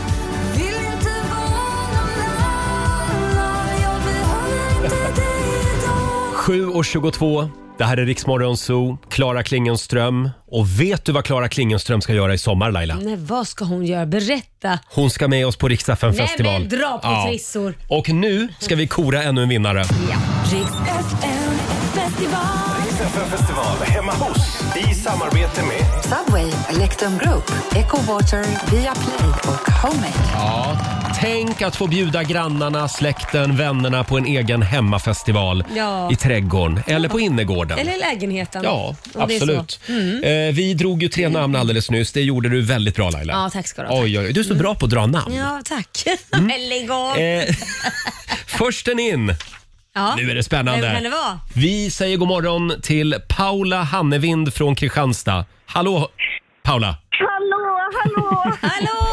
A: Sju och 22. Det här är Riksmorgon Zoo, Klara Klingenström. Och vet du vad Klara Klingenström ska göra i sommar Laila?
B: Nej, vad ska hon göra? Berätta.
A: Hon ska med oss på Rix FM festival.
B: Nej men dra på trissor.
A: Och nu ska vi kora ännu en vinnare.
B: Ja.
I: Riks FM festival.
C: Riks FM festival hemma hos i samarbete med
K: Subway, Electrum Group, Echo Water, Viaplay och Homemade.
A: Ja, tänk att få bjuda grannarna, släkten, vännerna på en egen hemmafestival.
B: Ja.
A: I trädgården eller på innergården.
B: Eller lägenheten.
A: Ja,
B: om det är så.
A: absolut.
B: Mm.
A: Eh, vi drog ju tre namn alldeles nyss. Det gjorde du väldigt bra Laila.
B: Ja, tack ska du ha.
A: Oj, oj, oj. Du är så bra på att dra namn. Mm.
B: Ja, tack. Lägg av.
A: Eh, försten in.
B: ja.
A: Nu är det spännande.
B: Vem kan det vara?
A: Vi säger god morgon till Paula Hannevind från Kristianstad. Hallå Paula,
D: Hallå, hallå!
B: hallå!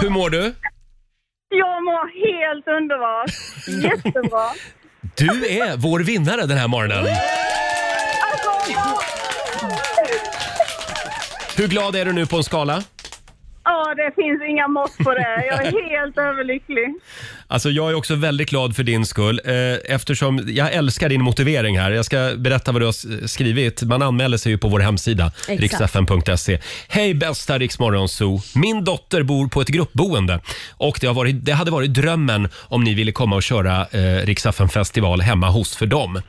A: hur mår du?
D: Jag mår helt underbart. Jättebra.
A: Du är vår vinnare den här morgonen.
D: Alltså, jag-
A: Hur glad är du nu på en skala?
D: ja, det finns inga mått på det. Jag är helt överlycklig.
A: Alltså jag är också väldigt glad för din skull eh, eftersom jag älskar din motivering här. Jag ska berätta vad du har s- skrivit. Man anmäler sig ju på vår hemsida,
I: Exakt.
A: riksfn.se. Hej bästa Riksmorgonzoo! Min dotter bor på ett gruppboende och det, har varit, det hade varit drömmen om ni ville komma och köra eh, Riksfn festival hemma hos för dem.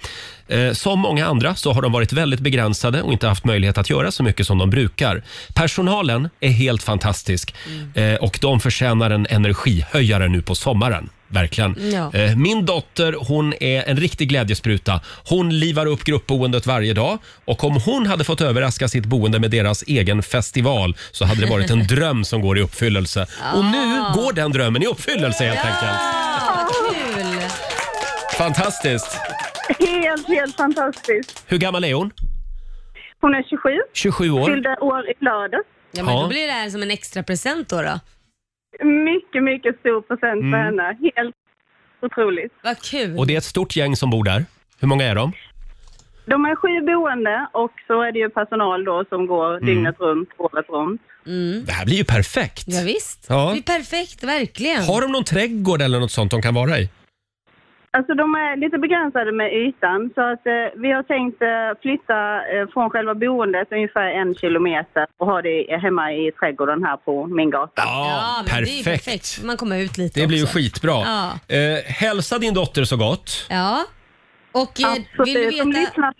A: Eh, Som många andra så har de varit väldigt begränsade och inte haft möjlighet att göra så mycket som de brukar. Personalen är helt fantastisk eh, och de förtjänar en energihöjare nu på sommaren. Verkligen.
I: Ja.
A: Eh, Min dotter hon är en riktig glädjespruta. Hon livar upp gruppboendet varje dag och om hon hade fått överraska sitt boende med deras egen festival så hade det varit en dröm som går i uppfyllelse. Och nu
B: Ah.
A: går den drömmen i uppfyllelse helt enkelt.
B: Ah, vad kul!
A: Fantastiskt!
D: Helt, helt fantastiskt.
A: Hur gammal är hon?
D: Hon är 27.
A: 27 år.
D: Fyllde år i lördags.
B: Ja, men
A: Ja.
B: då blir det här som en extra present då. då.
D: Mycket, mycket stor present
A: Mm.
D: för henne. Helt otroligt.
B: Vad kul.
A: Och det är ett stort gäng som bor där. Hur många är de?
D: De är sju boende och så är det ju personal då som går dygnet runt, året runt.
A: Mm. Det här blir ju perfekt.
B: Mm. Ja, visst.
A: Ja.
B: Det är perfekt, verkligen.
A: Har de någon trädgård eller något sånt de kan vara i?
D: Alltså de är lite begränsade med ytan så att eh, vi har tänkt eh, flytta eh, från själva boendet ungefär en kilometer och ha det hemma i trädgården här på min gata.
A: Ja,
B: men Det är ju perfekt. Man kommer ut lite
A: Det blir ju
B: också.
A: skitbra.
B: Ja.
A: Eh, hälsa din dotter så gott.
B: Ja. Och eh, vill du
D: Absolut, de
B: veta...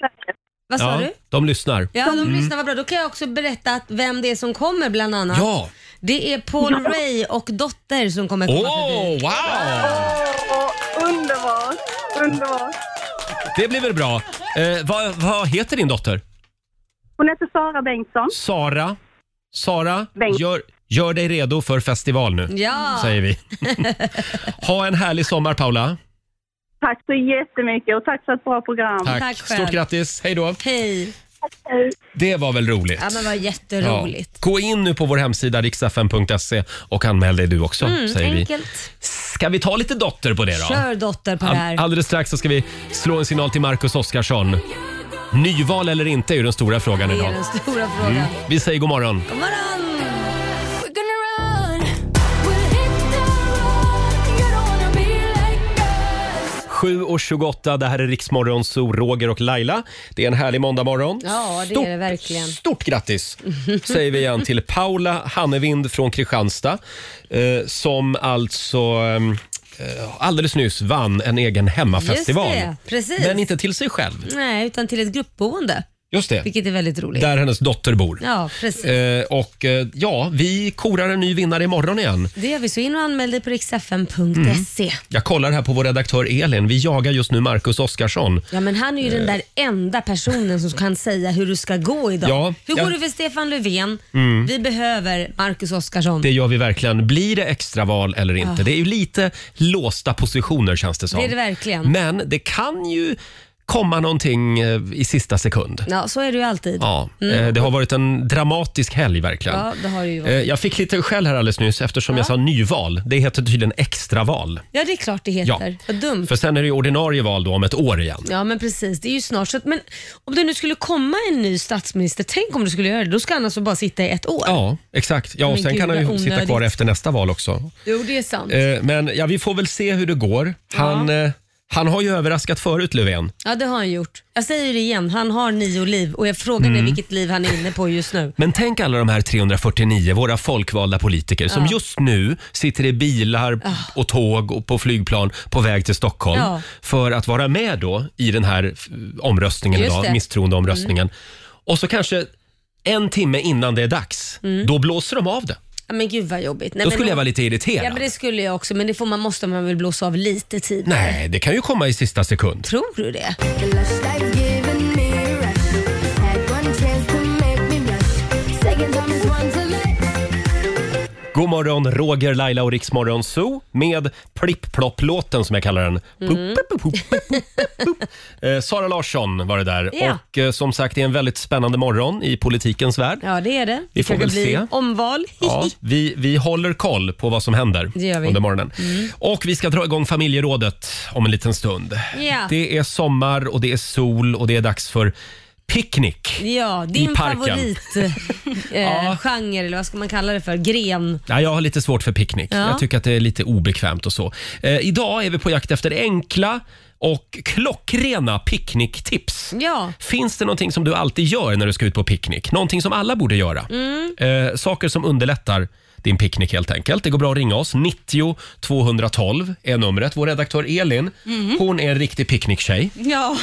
B: Vad sa du?
A: De lyssnar.
B: Ja, de
A: Mm.
B: lyssnar. Vad bra. Då kan jag också berätta att vem det är som kommer bland annat.
A: Ja.
B: Det är Paul Ray och Dotter som kommer komma
A: Åh,
B: förbi.
A: wow!
D: Åh, underbart! Underbart!
A: Det blir väl bra. Eh, vad, vad heter din dotter?
D: Hon heter Sara Bengtsson.
A: Sara. Sara, gör, gör dig redo för festival nu.
D: Ja.
A: Säger vi. ha en härlig sommar Paula.
D: Tack så jättemycket och tack för ett bra program.
A: Tack. Stort grattis. Hej då.
B: Hej.
A: Det var väl roligt?
B: Ja, men vad jätteroligt.
A: Ja. Gå in nu på vår hemsida riksfm.se och anmäl dig du också.
B: Mm,
A: säger vi.
B: enkelt.
A: Ska vi ta lite dotter på det då?
B: Kör Dotter på det här.
A: All- Alldeles strax så ska vi slå en signal till Marcus Oskarsson. Nyval eller inte är ju den stora frågan
B: det
A: idag.
B: är den stora frågan.
A: Mm. Vi säger god morgon.
B: God morgon!
A: och 28, det här är Riksmorgon, så Roger och Laila. Det är en härlig måndagmorgon.
B: Ja, det
A: Stort-
B: är det verkligen.
A: Stort grattis säger vi igen till Paula Hannevind från Kristianstad eh, som alltså eh, alldeles nyss vann en egen hemmafestival.
B: Just det, precis.
A: Men inte till sig själv.
B: Nej, utan till ett gruppboende.
A: Just det,
B: Vilket är väldigt roligt.
A: där hennes dotter bor.
B: Ja, precis.
A: Eh, och eh, ja, vi korar en ny vinnare imorgon igen.
B: Det gör vi, så in och anmäl dig på riksfn.se.
A: Jag kollar här på vår redaktör Elin. Vi jagar just nu Marcus Oskarsson.
B: Ja, men han är ju
A: Eh.
B: den där enda personen som kan säga hur du ska gå idag.
A: Ja,
B: hur går
A: jag-
B: det för Stefan Löfven?
A: Mm.
B: Vi behöver Marcus Oskarsson.
A: Det gör vi verkligen. Blir det extraval eller inte?
B: Ja.
A: Det är ju lite låsta positioner känns det som.
B: Ah. Det är det verkligen.
A: Men det kan ju komma någonting eh, i sista sekund.
B: Ja, så är det ju alltid.
A: Ja,
B: Mm.
A: eh, det har varit en dramatisk helg verkligen.
B: Ja, det har det ju
A: Eh,
B: varit.
A: Jag fick lite skäll här alldeles nyss eftersom jag sa nyval. Det heter tydligen extraval.
B: Ja, det är klart det heter.
A: Ja.
B: Vad dumt.
A: För sen är det ju ordinarie val då om ett år igen.
B: Ja, men precis. Det är ju snart. Så att, men om det nu skulle komma en ny statsminister, tänk om du skulle göra det. Då ska han alltså bara sitta i ett år.
A: Ja, exakt. Ja, och
B: Men
A: sen
B: gud,
A: kan han ju
B: vad
A: sitta kvar
B: onödigt.
A: efter nästa val också.
B: Jo, det är sant.
A: Eh, Men ja, vi får väl se hur det går. Han, eh, han har ju överraskat förut, Löfven.
B: Ja, det har han gjort. Jag säger det igen, han har nio liv och jag frågar dig
A: Mm.
B: vilket liv han är inne på just nu.
A: Men tänk alla de här 349, våra folkvalda politiker som
B: Ja.
A: just nu sitter i bilar och tåg och på flygplan på väg till Stockholm
B: Ja.
A: för att vara med då i den här f- omröstningen
B: Just
A: idag,
B: det. Mm.
A: misstroendeomröstningen. Och så kanske en timme innan det är dags,
B: Mm.
A: då blåser de av det.
B: Ja, men gud vad jobbigt. Nej,
A: då
B: men
A: skulle jag
B: hon-
A: vara lite
B: Ja,
A: irriterad.
B: men det skulle jag också, men det får man, måste man väl blåsa av lite tid.
A: Nej, det kan ju komma i sista sekund.
B: Tror du det?
A: God morgon, Roger, Laila och Riksmorgon Zoo med Plipp-plopp-låten som jag kallar den.
B: Mm.
A: Eh, Sara Larsson var det där.
B: Ja.
A: Och eh, som sagt, det är en väldigt spännande morgon i politikens värld.
B: Ja, det är det.
A: Vi får
B: kanske
A: väl
B: blir
A: se.
B: Omval.
A: Ja, vi, vi håller koll på vad som händer
B: Det gör vi. Mm.
A: under morgonen. Och vi ska dra igång familjerådet om en liten stund.
B: Ja.
A: Det är sommar och det är sol och det är dags för picknick.
B: Ja,
A: I
B: din
A: parken.
B: favoritgenre, eh, genre, eller vad ska man kalla det för? Gren.
A: Ja, jag har lite svårt för picknick.
B: Ja.
A: Jag tycker att det är lite obekvämt och så. Eh, idag är vi på jakt efter enkla och klockrena picknicktips.
B: Ja.
A: Finns det någonting som du alltid gör när du ska ut på picknick? Någonting som alla borde göra?
B: Mm.
A: Eh, saker som underlättar din picknick helt enkelt. Det går bra att ringa oss. 90 212 är numret. Vår redaktör Elin,
E: Mhm.
A: hon är en riktig picknicktjej.
E: Ja,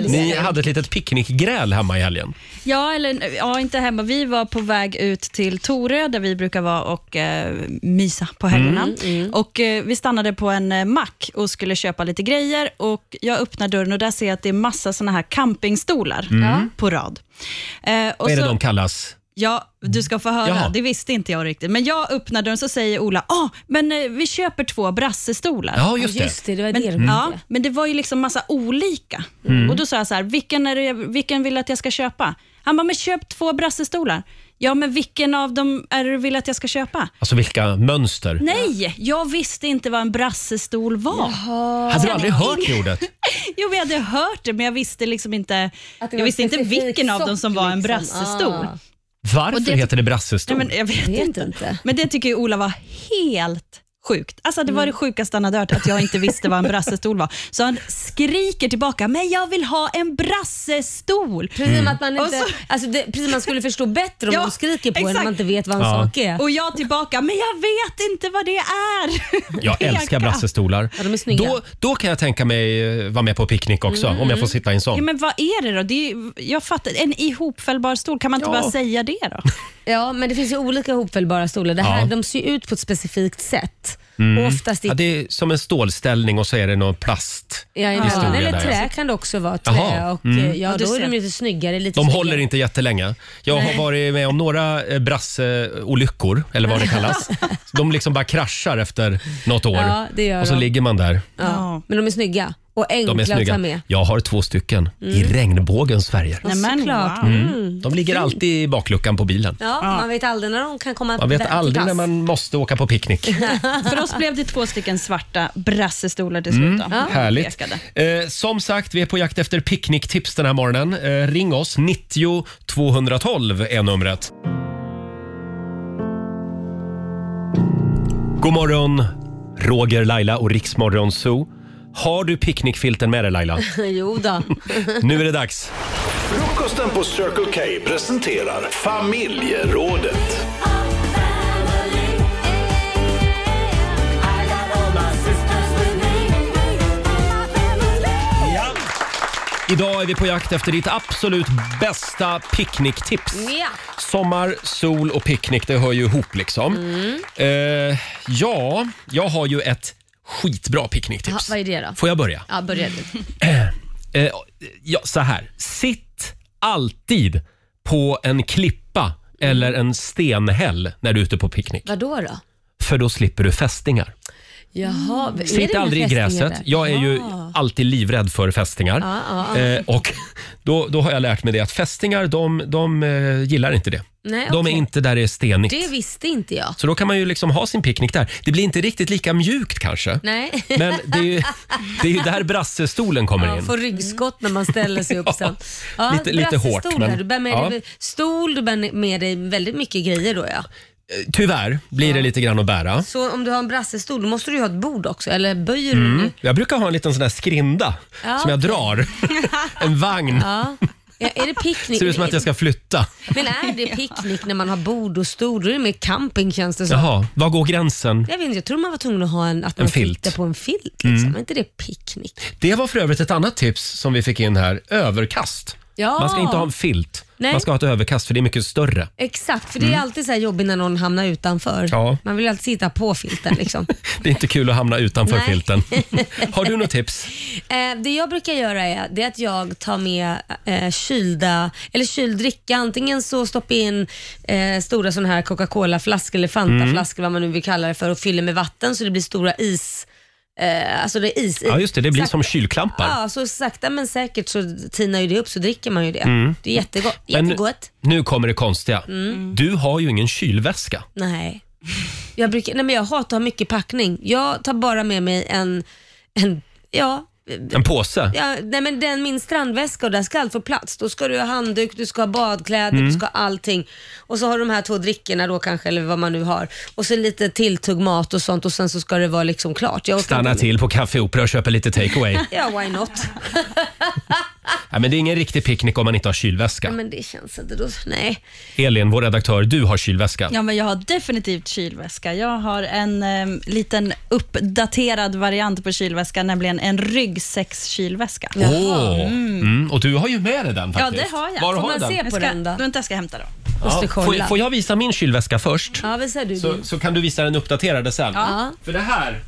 A: Ni hade ett litet picknickgräl hemma i helgen.
E: Ja, eller ja, inte hemma. Vi var på väg ut till Torö där vi brukar vara och eh, mysa på helgerna.
B: Mm, mm.
E: Och eh, Vi stannade på en eh, mack och skulle köpa lite grejer. Och Jag öppnar dörren och där ser jag att det är massa såna här campingstolar
A: Mm. Ja.
E: på rad. Eh, och
A: Vad är det
E: så-
A: de kallas?
E: Ja, du ska få höra.
A: Jaha.
E: Det visste inte jag riktigt. Men jag öppnar dörren så säger Ola, ah, men eh, vi köper två brassestolar.
A: Ja, just det. Just
B: det, var
E: men,
B: det de
E: ja,
B: hette.
E: men det var ju liksom massa olika.
B: Mm.
E: Och Då sa jag så här, vilken, är det, vilken vill du att jag ska köpa? Han bara, men köp två brassestolar. Ja, men vilken av dem är det du vill att jag ska köpa?
A: Alltså vilka mönster?
E: Nej, jag visste inte vad en brassestol var.
A: Hade du aldrig hört det ordet?
E: Jo, men jag hade hört det, men jag visste liksom inte,
B: det
E: jag
B: var
E: visste inte
B: specifik
E: vilken av dem som
B: sort,
E: var en
B: liksom.
E: brassestol.
B: Ah.
A: Varför
E: Och det-
A: heter det brassestol?
E: Nej, men jag vet, inte. Men det tycker ju Ola var helt sjukt. Alltså det
B: Mm.
E: var det sjukaste han hade hört, att jag inte visste vad en brassestol var. Så han skriker tillbaka, men jag vill ha en brassestol.
B: Precis
A: Mm.
B: som att man inte- alltså det, precis man skulle förstå bättre om någon skriker på en när man inte vet vad en Ja. sak är.
E: Och jag tillbaka, men jag vet inte vad det är.
A: Jag
E: Peka.
A: älskar brassestolar.
E: Ja, de är snygga.
A: då, då kan jag tänka mig eh, vara med på picknick också,
E: Mm.
A: om jag får sitta i en
E: Ja,
A: sån.
E: men vad är det då? Det är, ju- jag fattar, en ihopfällbar stol, kan man inte
A: Ja.
E: bara säga det då?
B: Ja, men det finns ju olika hopfällbara stolar. Det här,
A: Ja.
B: De ser ju ut på ett specifikt sätt.
A: Mm.
B: Och oftast i,
A: ja, det är som en stålställning och så är det någon plast.
B: ja, i
A: historia
B: vatten eller
A: där, alltså.
B: trä
A: ja.
B: kan det också vara. Trä
A: Jaha,
B: och,
A: mm.
B: eh, ja,
E: Ja, du
B: då är
E: ser.
B: de ju lite snyggare. Lite
A: De
B: snyggare.
A: håller inte jättelänge. Jag har
B: Nej.
A: varit med om några eh, brasseolyckor, eller vad det kallas. De liksom bara kraschar efter något år
B: Ja, det gör
A: och så
B: de.
A: ligger man där.
B: Ja. Men de är snygga och
A: De
B: enkla
A: är
B: att ta
A: snygga.
B: med.
A: Jag har två stycken i
B: Mm.
A: regnbågens färger.
B: Ja, såklart.
A: Mm. De ligger alltid i bakluckan på bilen.
B: Ja, man vet aldrig när de kan komma
A: Man vet Mm.
B: där-
A: aldrig
B: till
A: när
B: pass.
A: man måste åka på picknick.
E: För oss blev det två stycken svarta brassestolar till slut.
A: Mm,
E: Då.
A: Härligt.
E: Pekade.
A: Eh, som sagt, vi är på jakt efter picknicktips den här morgonen. Eh, ring oss, 90 212 är numret. God morgon, Roger, Laila och Riksmorgon Zoo. Har du picknickfilten med dig Laila?
B: jo då.
A: Nu är det dags.
C: Frukosten på Circle K presenterar familjerådet.
A: Idag är vi på jakt efter ditt absolut bästa picknicktips.
B: Ja.
A: Sommar, sol och picknick, det hör ju ihop liksom.
B: Mm.
A: Eh, ja, jag har ju ett skitbra
B: Ja,
A: picknicktips.
B: vad är det då?
A: Får jag börja?
B: Ja, börja du.
A: Eh, ja, så här. Sitt alltid på en klippa eller en stenhäll när du är ute på picknick.
B: Vadå då?
A: För då slipper du fästingar.
B: Jaha, är det
A: Sitt
B: inga
A: aldrig i
B: fästingar
A: gräset.
B: där?
A: Jag är ju
B: Ah.
A: alltid livrädd för fästingar.
B: Ja, ja, ja.
A: Eh, och då, då har jag lärt mig det att fästingar de, de eh, gillar inte det.
B: Nej,
A: de
B: okej.
A: är inte där det är stenigt.
B: Det visste inte jag.
A: Så då kan man ju liksom ha sin picknick där. Det blir inte riktigt lika mjukt kanske.
B: Nej.
A: Men det är ju, det är ju där brassestolen kommer
B: Man
A: in.
B: får ryggskott när man ställer sig upp sen. Ja,
A: lite- lite hårt,
B: brassestol
A: men-
B: där. du bär med
A: ja.
B: dig stol, du bär med dig väldigt mycket grejer då ja.
A: Tyvärr blir det lite grann att bära.
B: Så om du har en brassestol då måste du ju ha ett bord också, eller böjer du
A: Mm.
B: dig?
A: Jag brukar ha en liten sån där skrinda
B: Ja,
A: som jag
B: okej.
A: drar. En vagn.
B: Ja. Ja, är det picknick?
A: Mm. Ser ut som att jag ska flytta.
B: Men är det picknick när man har bord och stol? Då är det mer camping känns det som.
A: Jaha, var går gränsen?
B: Jag, vet inte, jag tror man var tvungen att ha en, att
A: En
B: man
A: filt.
B: sitter på en filt. Liksom.
A: Mm.
B: Är inte det picknick?
A: Det var för övrigt ett annat tips som vi fick in här. Överkast.
B: Ja.
A: Man ska inte ha en filt.
B: Nej.
A: Man ska ha ett överkast för det är mycket större.
B: Exakt, för det är
A: Mm.
B: alltid så här jobbigt när någon hamnar utanför.
A: Ja.
B: Man vill ju alltid sitta på filten. Liksom.
A: Det är inte kul att hamna utanför
B: Nej.
A: filten. Har du något tips?
B: Eh, det jag brukar göra är, det är att jag tar med eh, kylda, eller kyld dricka. Antingen så stoppar jag in eh, stora sådana här Coca-Cola-flaskor eller Fanta-flaskor,
A: Mm.
B: vad man nu vill kalla det för, och fyller med vatten så det blir stora is. Eh, alltså det är is i.
A: Ja, just det. Det blir
B: Sakta-
A: som kylklampar.
B: Ja, så sakta men säkert så tinar ju det upp så dricker man ju det.
A: Mm.
B: Det är jättegott.
A: Men
B: jättegott.
A: nu kommer det konstiga.
B: Mm.
A: Du har ju ingen kylväska.
B: Nej. Jag, brukar, nej men jag hatar att ha mycket packning. Jag tar bara med mig en, en ja,
A: En påse.
B: Ja, nej men den, min strandväska och där ska allt få plats. Då ska du ha handduk, du ska ha badkläder,
A: Mm.
B: du ska ha allting. Och så har du de här två drickorna då kanske, eller vad man nu har. Och så lite tilltugg mat och sånt och sen så ska det vara liksom klart. Jag orkar
A: Stanna
B: inte-
A: till på Café Opera och köpa lite takeaway.
B: Ja, why not?
A: ja, men det är ingen riktig picknick om man inte har
B: Nej,
A: kylväska.
B: men det känns inte då. Nej.
A: Elin, vår redaktör, du har kylväska.
E: Ja, men jag har definitivt kylväska. Jag har en em, liten uppdaterad variant på kylväska, nämligen en ryggsäckskylväska.
A: Åh! Mm. Och du har ju med dig den
E: Ja,
A: faktiskt.
E: det har jag.
A: Var har du den?
E: jag ska, då? Vänta, jag ska hämta den.
A: Ja, får, får jag visa min kylväska först?
B: Ja, vad säger du?
A: Så, så kan du visa den uppdaterade sen.
B: Ja.
A: För det här,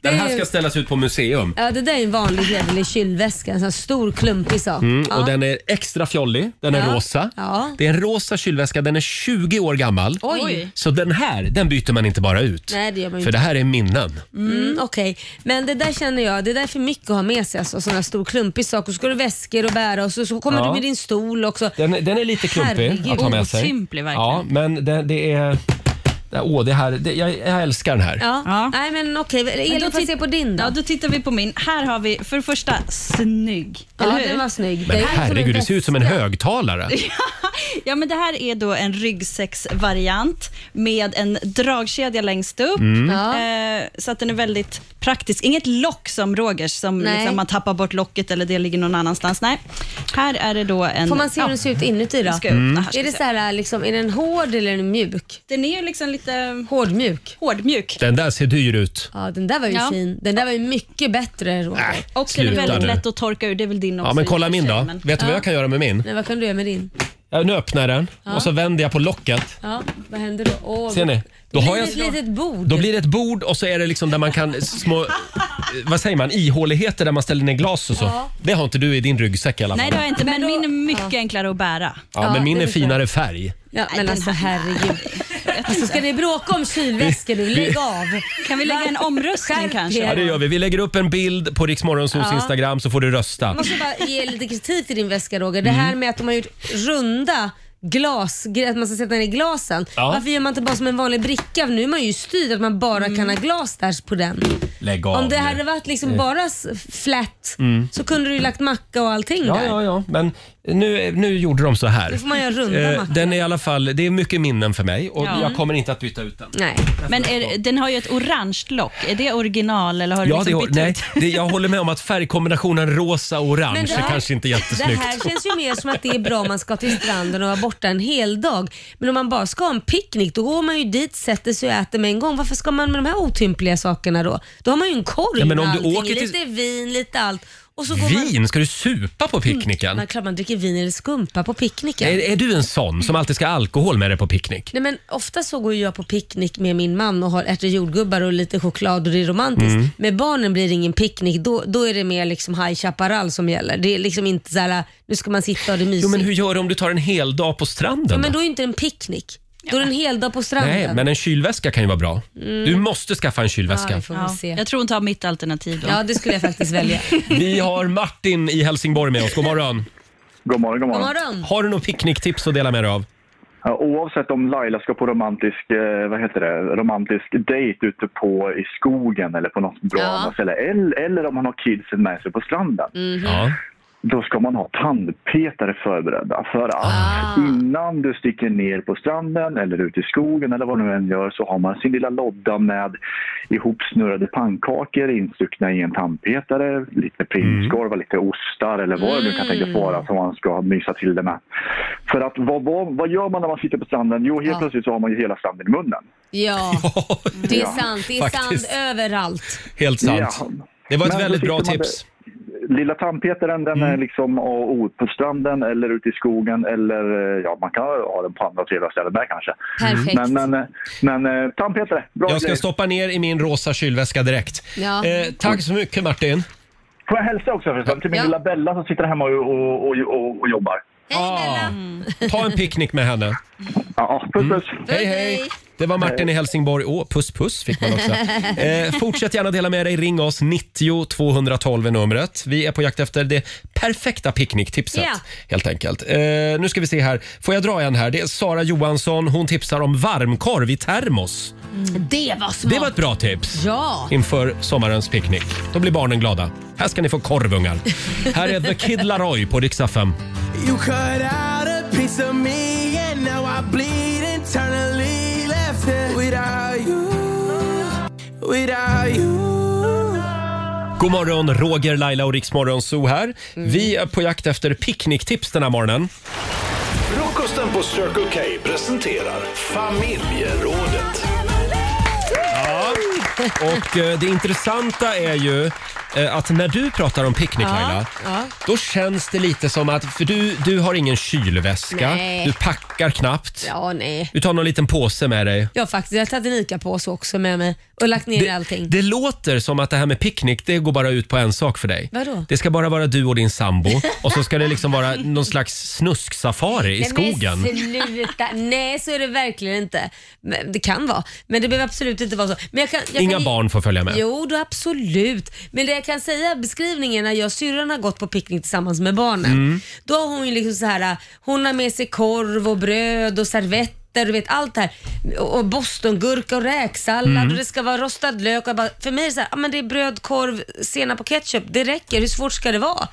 B: Det är
A: den här
B: ju-
A: ska ställas ut på museum.
B: Ja, det där är en vanlig hederlig kylväska. En sån här stor klumpig sak.
A: Mm,
B: ja.
A: Och den är extra fjollig. Den är
B: Ja.
A: rosa.
B: Ja.
A: Det är en rosa kylväska. Den är 20 år gammal.
B: Oj.
A: Så den här, den byter man inte bara ut.
B: Nej, det gör man ju
A: För det
B: inte.
A: här är minnen.
B: Mm, Okej, men det där känner jag, det där är för mycket att ha med sig. Alltså, sån här stor klumpig sak och så ska du väskor och bära och så, så kommer
A: Ja.
B: du med din stol också.
A: Den, är- den är lite klumpig
B: Herregud.
A: att ha med sig.
B: Otymplig, verkligen.
A: Ja, men det, det är... det- Åh, det här, det, jag, jag älskar den här.
B: Ja. Nej men okej, Elin får jag se på din då.
E: Ja, då tittar vi på min. Här har vi för det första snygg.
B: Ja,
E: eller hur?
B: den var snygg.
A: Men herregud, det ser ut som en högtalare.
E: Ja, men det här är då en ryggsäcksvariant med en dragkedja längst upp,
I: Mm.
E: eh, så att den är väldigt praktisk. Inget lock som Rogers, som
B: Nej.
E: liksom man tappar bort locket eller det ligger någon annanstans. Nej, här är det då en...
B: Får man se hur
E: ja.
B: den ser ut inuti då?
E: Jag ska öppna
A: Mm.
E: här, ska
B: Är
E: vi
B: det
E: se.
B: så här, liksom, är den hård eller är den mjuk?
E: Den är liksom lite...
B: Hårdmjuk?
E: Hårdmjuk.
A: Den där ser dyr ut.
B: Ja, den där var ju
E: Ja.
B: fin. Den där var ju mycket bättre Roger.
E: Och
A: Sluta
E: den är väldigt
A: nu.
E: lätt att torka ur, det är väl din också.
A: Ja, men kolla
E: i och för
A: min
E: sig,
A: då.
E: men-
A: Vet du vad jag kan göra med min?
B: Nej, vad kan du göra med din?
A: Ja, Nu öppnar jag den
B: Ja.
A: och så vänder jag på locket.
B: Ja, vad händer då? Åh,
A: Ser ni?
B: Då
A: Då,
B: blir
A: har
B: det
A: jag,
B: ett litet bord.
E: Oh,
A: då blir det ett bord och så är det liksom där man kan små, eh, vad säger man, ihåligheter där man ställer ner glas och så.
E: Ja.
A: Det har inte du i din ryggsäck i alla fall.
E: Nej, det har jag inte, men, min är mycket enklare att bära.
A: Ja, men min är finare färg.
B: Ja, men alltså herregud. Alltså, ska ni bråka om kylväskor nu?
A: Vi-
B: Lägg
A: vi-
B: av.
E: Kan vi lägga en omröstning kanske?
A: Ja, det gör vi. Vi lägger upp en bild på Riksmorgonsols
B: Ja.
A: Instagram så får du rösta.
B: Jag måste bara ge lite kritik till din väska Roger. Det
A: Mm.
B: här med att de har gjort runda glas, att man ska sätta ner glasen.
A: Ja.
B: Varför gör man inte bara som en vanlig bricka? Nu är man ju styrd att man bara
A: Mm.
B: kan ha glas där på den.
A: Lägg av
B: Om det
A: nu.
B: hade varit liksom
A: Eh.
B: bara s- flat
A: Mm.
B: så kunde du ju lagt macka och allting
A: Ja,
B: där.
A: ja, ja. Men nu, nu gjorde de så här. Eh,
B: Nu får man göra runda mackor.
A: den är i alla fall, det är mycket minnen för mig och
E: Ja.
A: jag kommer inte att byta ut den.
B: Nej.
E: Men är, den har ju ett orange lock. Är det original eller har du
A: Ja, det,
E: liksom bytt
A: nej,
E: ut?
A: det, jag håller med om att färgkombinationen rosa och orange
B: Men det
A: är
B: här-
A: kanske inte
B: Det här
A: jättesnyggt.
B: känns ju mer som att det är bra om man ska till stranden och vara borta en hel dag. Men om man bara ska ha en picknick, då går man ju dit, sätter sig och äter med en gång. Varför ska man med de här otympliga sakerna då? Då har man ju en korg
A: Ja, men om
B: med
A: du
B: allting,
A: åker till-
B: lite vin, lite allt. Och så går man... Mm,
A: Vin? Ska du supa på picknicken?
B: Man, klart man dricker vin eller skumpa på picknicken.
A: Är, är du en sån som alltid ska ha alkohol med dig på picknick?
B: Nej, men ofta så går ju jag på picknick med min man och har äter jordgubbar och lite choklad och det är romantiskt.
A: Mm.
B: Med barnen blir det ingen picknick, då, då är det mer liksom High Chaparral som gäller. Det är liksom inte så här, nu ska man sitta och det är mysigt.
A: Jo, men hur gör du om du tar en hel dag på stranden?
B: Ja, men
A: då?
B: då är inte en picknick. Då är det en hel dag på stranden.
A: Nej, men en kylväska kan ju vara bra.
B: Mm.
A: Du måste skaffa en kylväska.
E: Ja, Jag tror inte har mitt alternativ då.
B: Ja, det skulle jag faktiskt välja.
A: Vi har Martin i Helsingborg med oss. God morgon.
L: God morgon, god
B: God
L: morgon.
B: morgon.
A: Har du något picknicktips att dela med dig av?
L: Ja, oavsett om Laila ska på romantisk, eh, vad heter det, romantisk dejt ute på, i skogen eller på något bra
I: Ja.
L: ställe, eller, eller om man har kidsen med sig på stranden. Då ska man ha tandpetare förberedda. För att innan du sticker ner på stranden eller ut i skogen eller vad du än gör så har man sin lilla lodda med ihopsnurrade pannkakor instuckna i en tandpetare, lite prinskorvar, lite ostar eller vad det nu kan tänkas vara som man ska mysa till det med. För att vad, vad, vad gör man när man sitter på stranden? Jo, helt
B: Ja.
L: plötsligt så har man ju hela stranden i munnen.
B: Ja, det är
L: Ja,
B: sant. Det är sand
L: faktiskt.
B: överallt.
A: Helt sant. Det var ett
L: så
A: väldigt
L: sitter
A: bra
L: man där-
A: tips. Mm.
L: Lilla tandpetaren den är liksom och, och, på stranden eller ute i skogen eller eh, ja, man kan ha den på andra trevliga ställen där kanske.
A: Perfekt.
L: Men, men, eh, men eh, tandpetare, bra
A: Jag ska
L: grej.
A: stoppa ner i min rosa kylväska direkt.
L: Ja.
A: Eh, tack så mycket Martin.
L: Får jag hälsa också förresten till min lilla Bella som sitter hemma och, och, och, och, och jobbar.
A: Ah. Ta en picknick med henne. Mm.
L: Ja, puss puss.
A: Hej hej. Det var Martin i Helsingborg. Åh, puss puss fick man också. Eh, fortsätt gärna dela med dig. Ring oss. 90 212 är numret. Vi är på jakt efter det perfekta picknicktipset.
B: Ja.
A: Helt enkelt. Eh, nu ska vi se här. Får jag dra en här? Det är Sara Johansson. Hon tipsar om varmkorv i termos.
B: Det var smart.
A: Mm. Det var ett bra tips.
B: Ja.
A: Inför sommarens picknick. Då blir barnen glada. Här ska ni få korvungar. här är The Kid Laroi på riksdag 5.
I: You cut out a piece of me and now I bleed internally left here without you, without you.
A: God morgon, Roger, Laila och Riksmorgon Zoo här.
B: Mm.
A: Vi är på jakt efter picknicktips den här morgonen.
C: Frukosten på Circle K presenterar Familjerådet.
A: Och eh, det intressanta är ju eh, att när du pratar om picknick Laila,
I: ja.
A: då känns det lite som att, för du, du har ingen kylväska,
B: Nej.
A: du packar knappt,
B: Ja, nej.
A: du tar någon liten påse med dig.
B: Jag har faktiskt, jag har tagit en ICA-påse också med mig och lagt ner allting.
A: Det låter som att det här med picknick, det går bara ut på en sak för dig.
B: Vadå?
A: Det ska bara vara du och din sambo och så ska det liksom vara någon slags snusksafari i skogen.
B: Nej, men sluta. Nej, så är det verkligen inte. Men det kan vara, men det behöver absolut inte vara så. Men jag kan, jag
A: Inga
B: kan...
A: barn får följa med.
B: Jo, då absolut. Men det jag kan säga beskrivningen när jag och syrran har gått på picknick tillsammans med barnen.
I: Mm.
B: Då har hon ju liksom så här, hon har med sig korv och bröd och servetter du vet allt det här. Och och bostongurka och räksallad
I: Mm.
B: och det ska vara rostad lök. Och jag bara, för mig är det så här, ja, men det är bröd, korv, senap och ketchup. Det räcker, hur svårt ska det vara?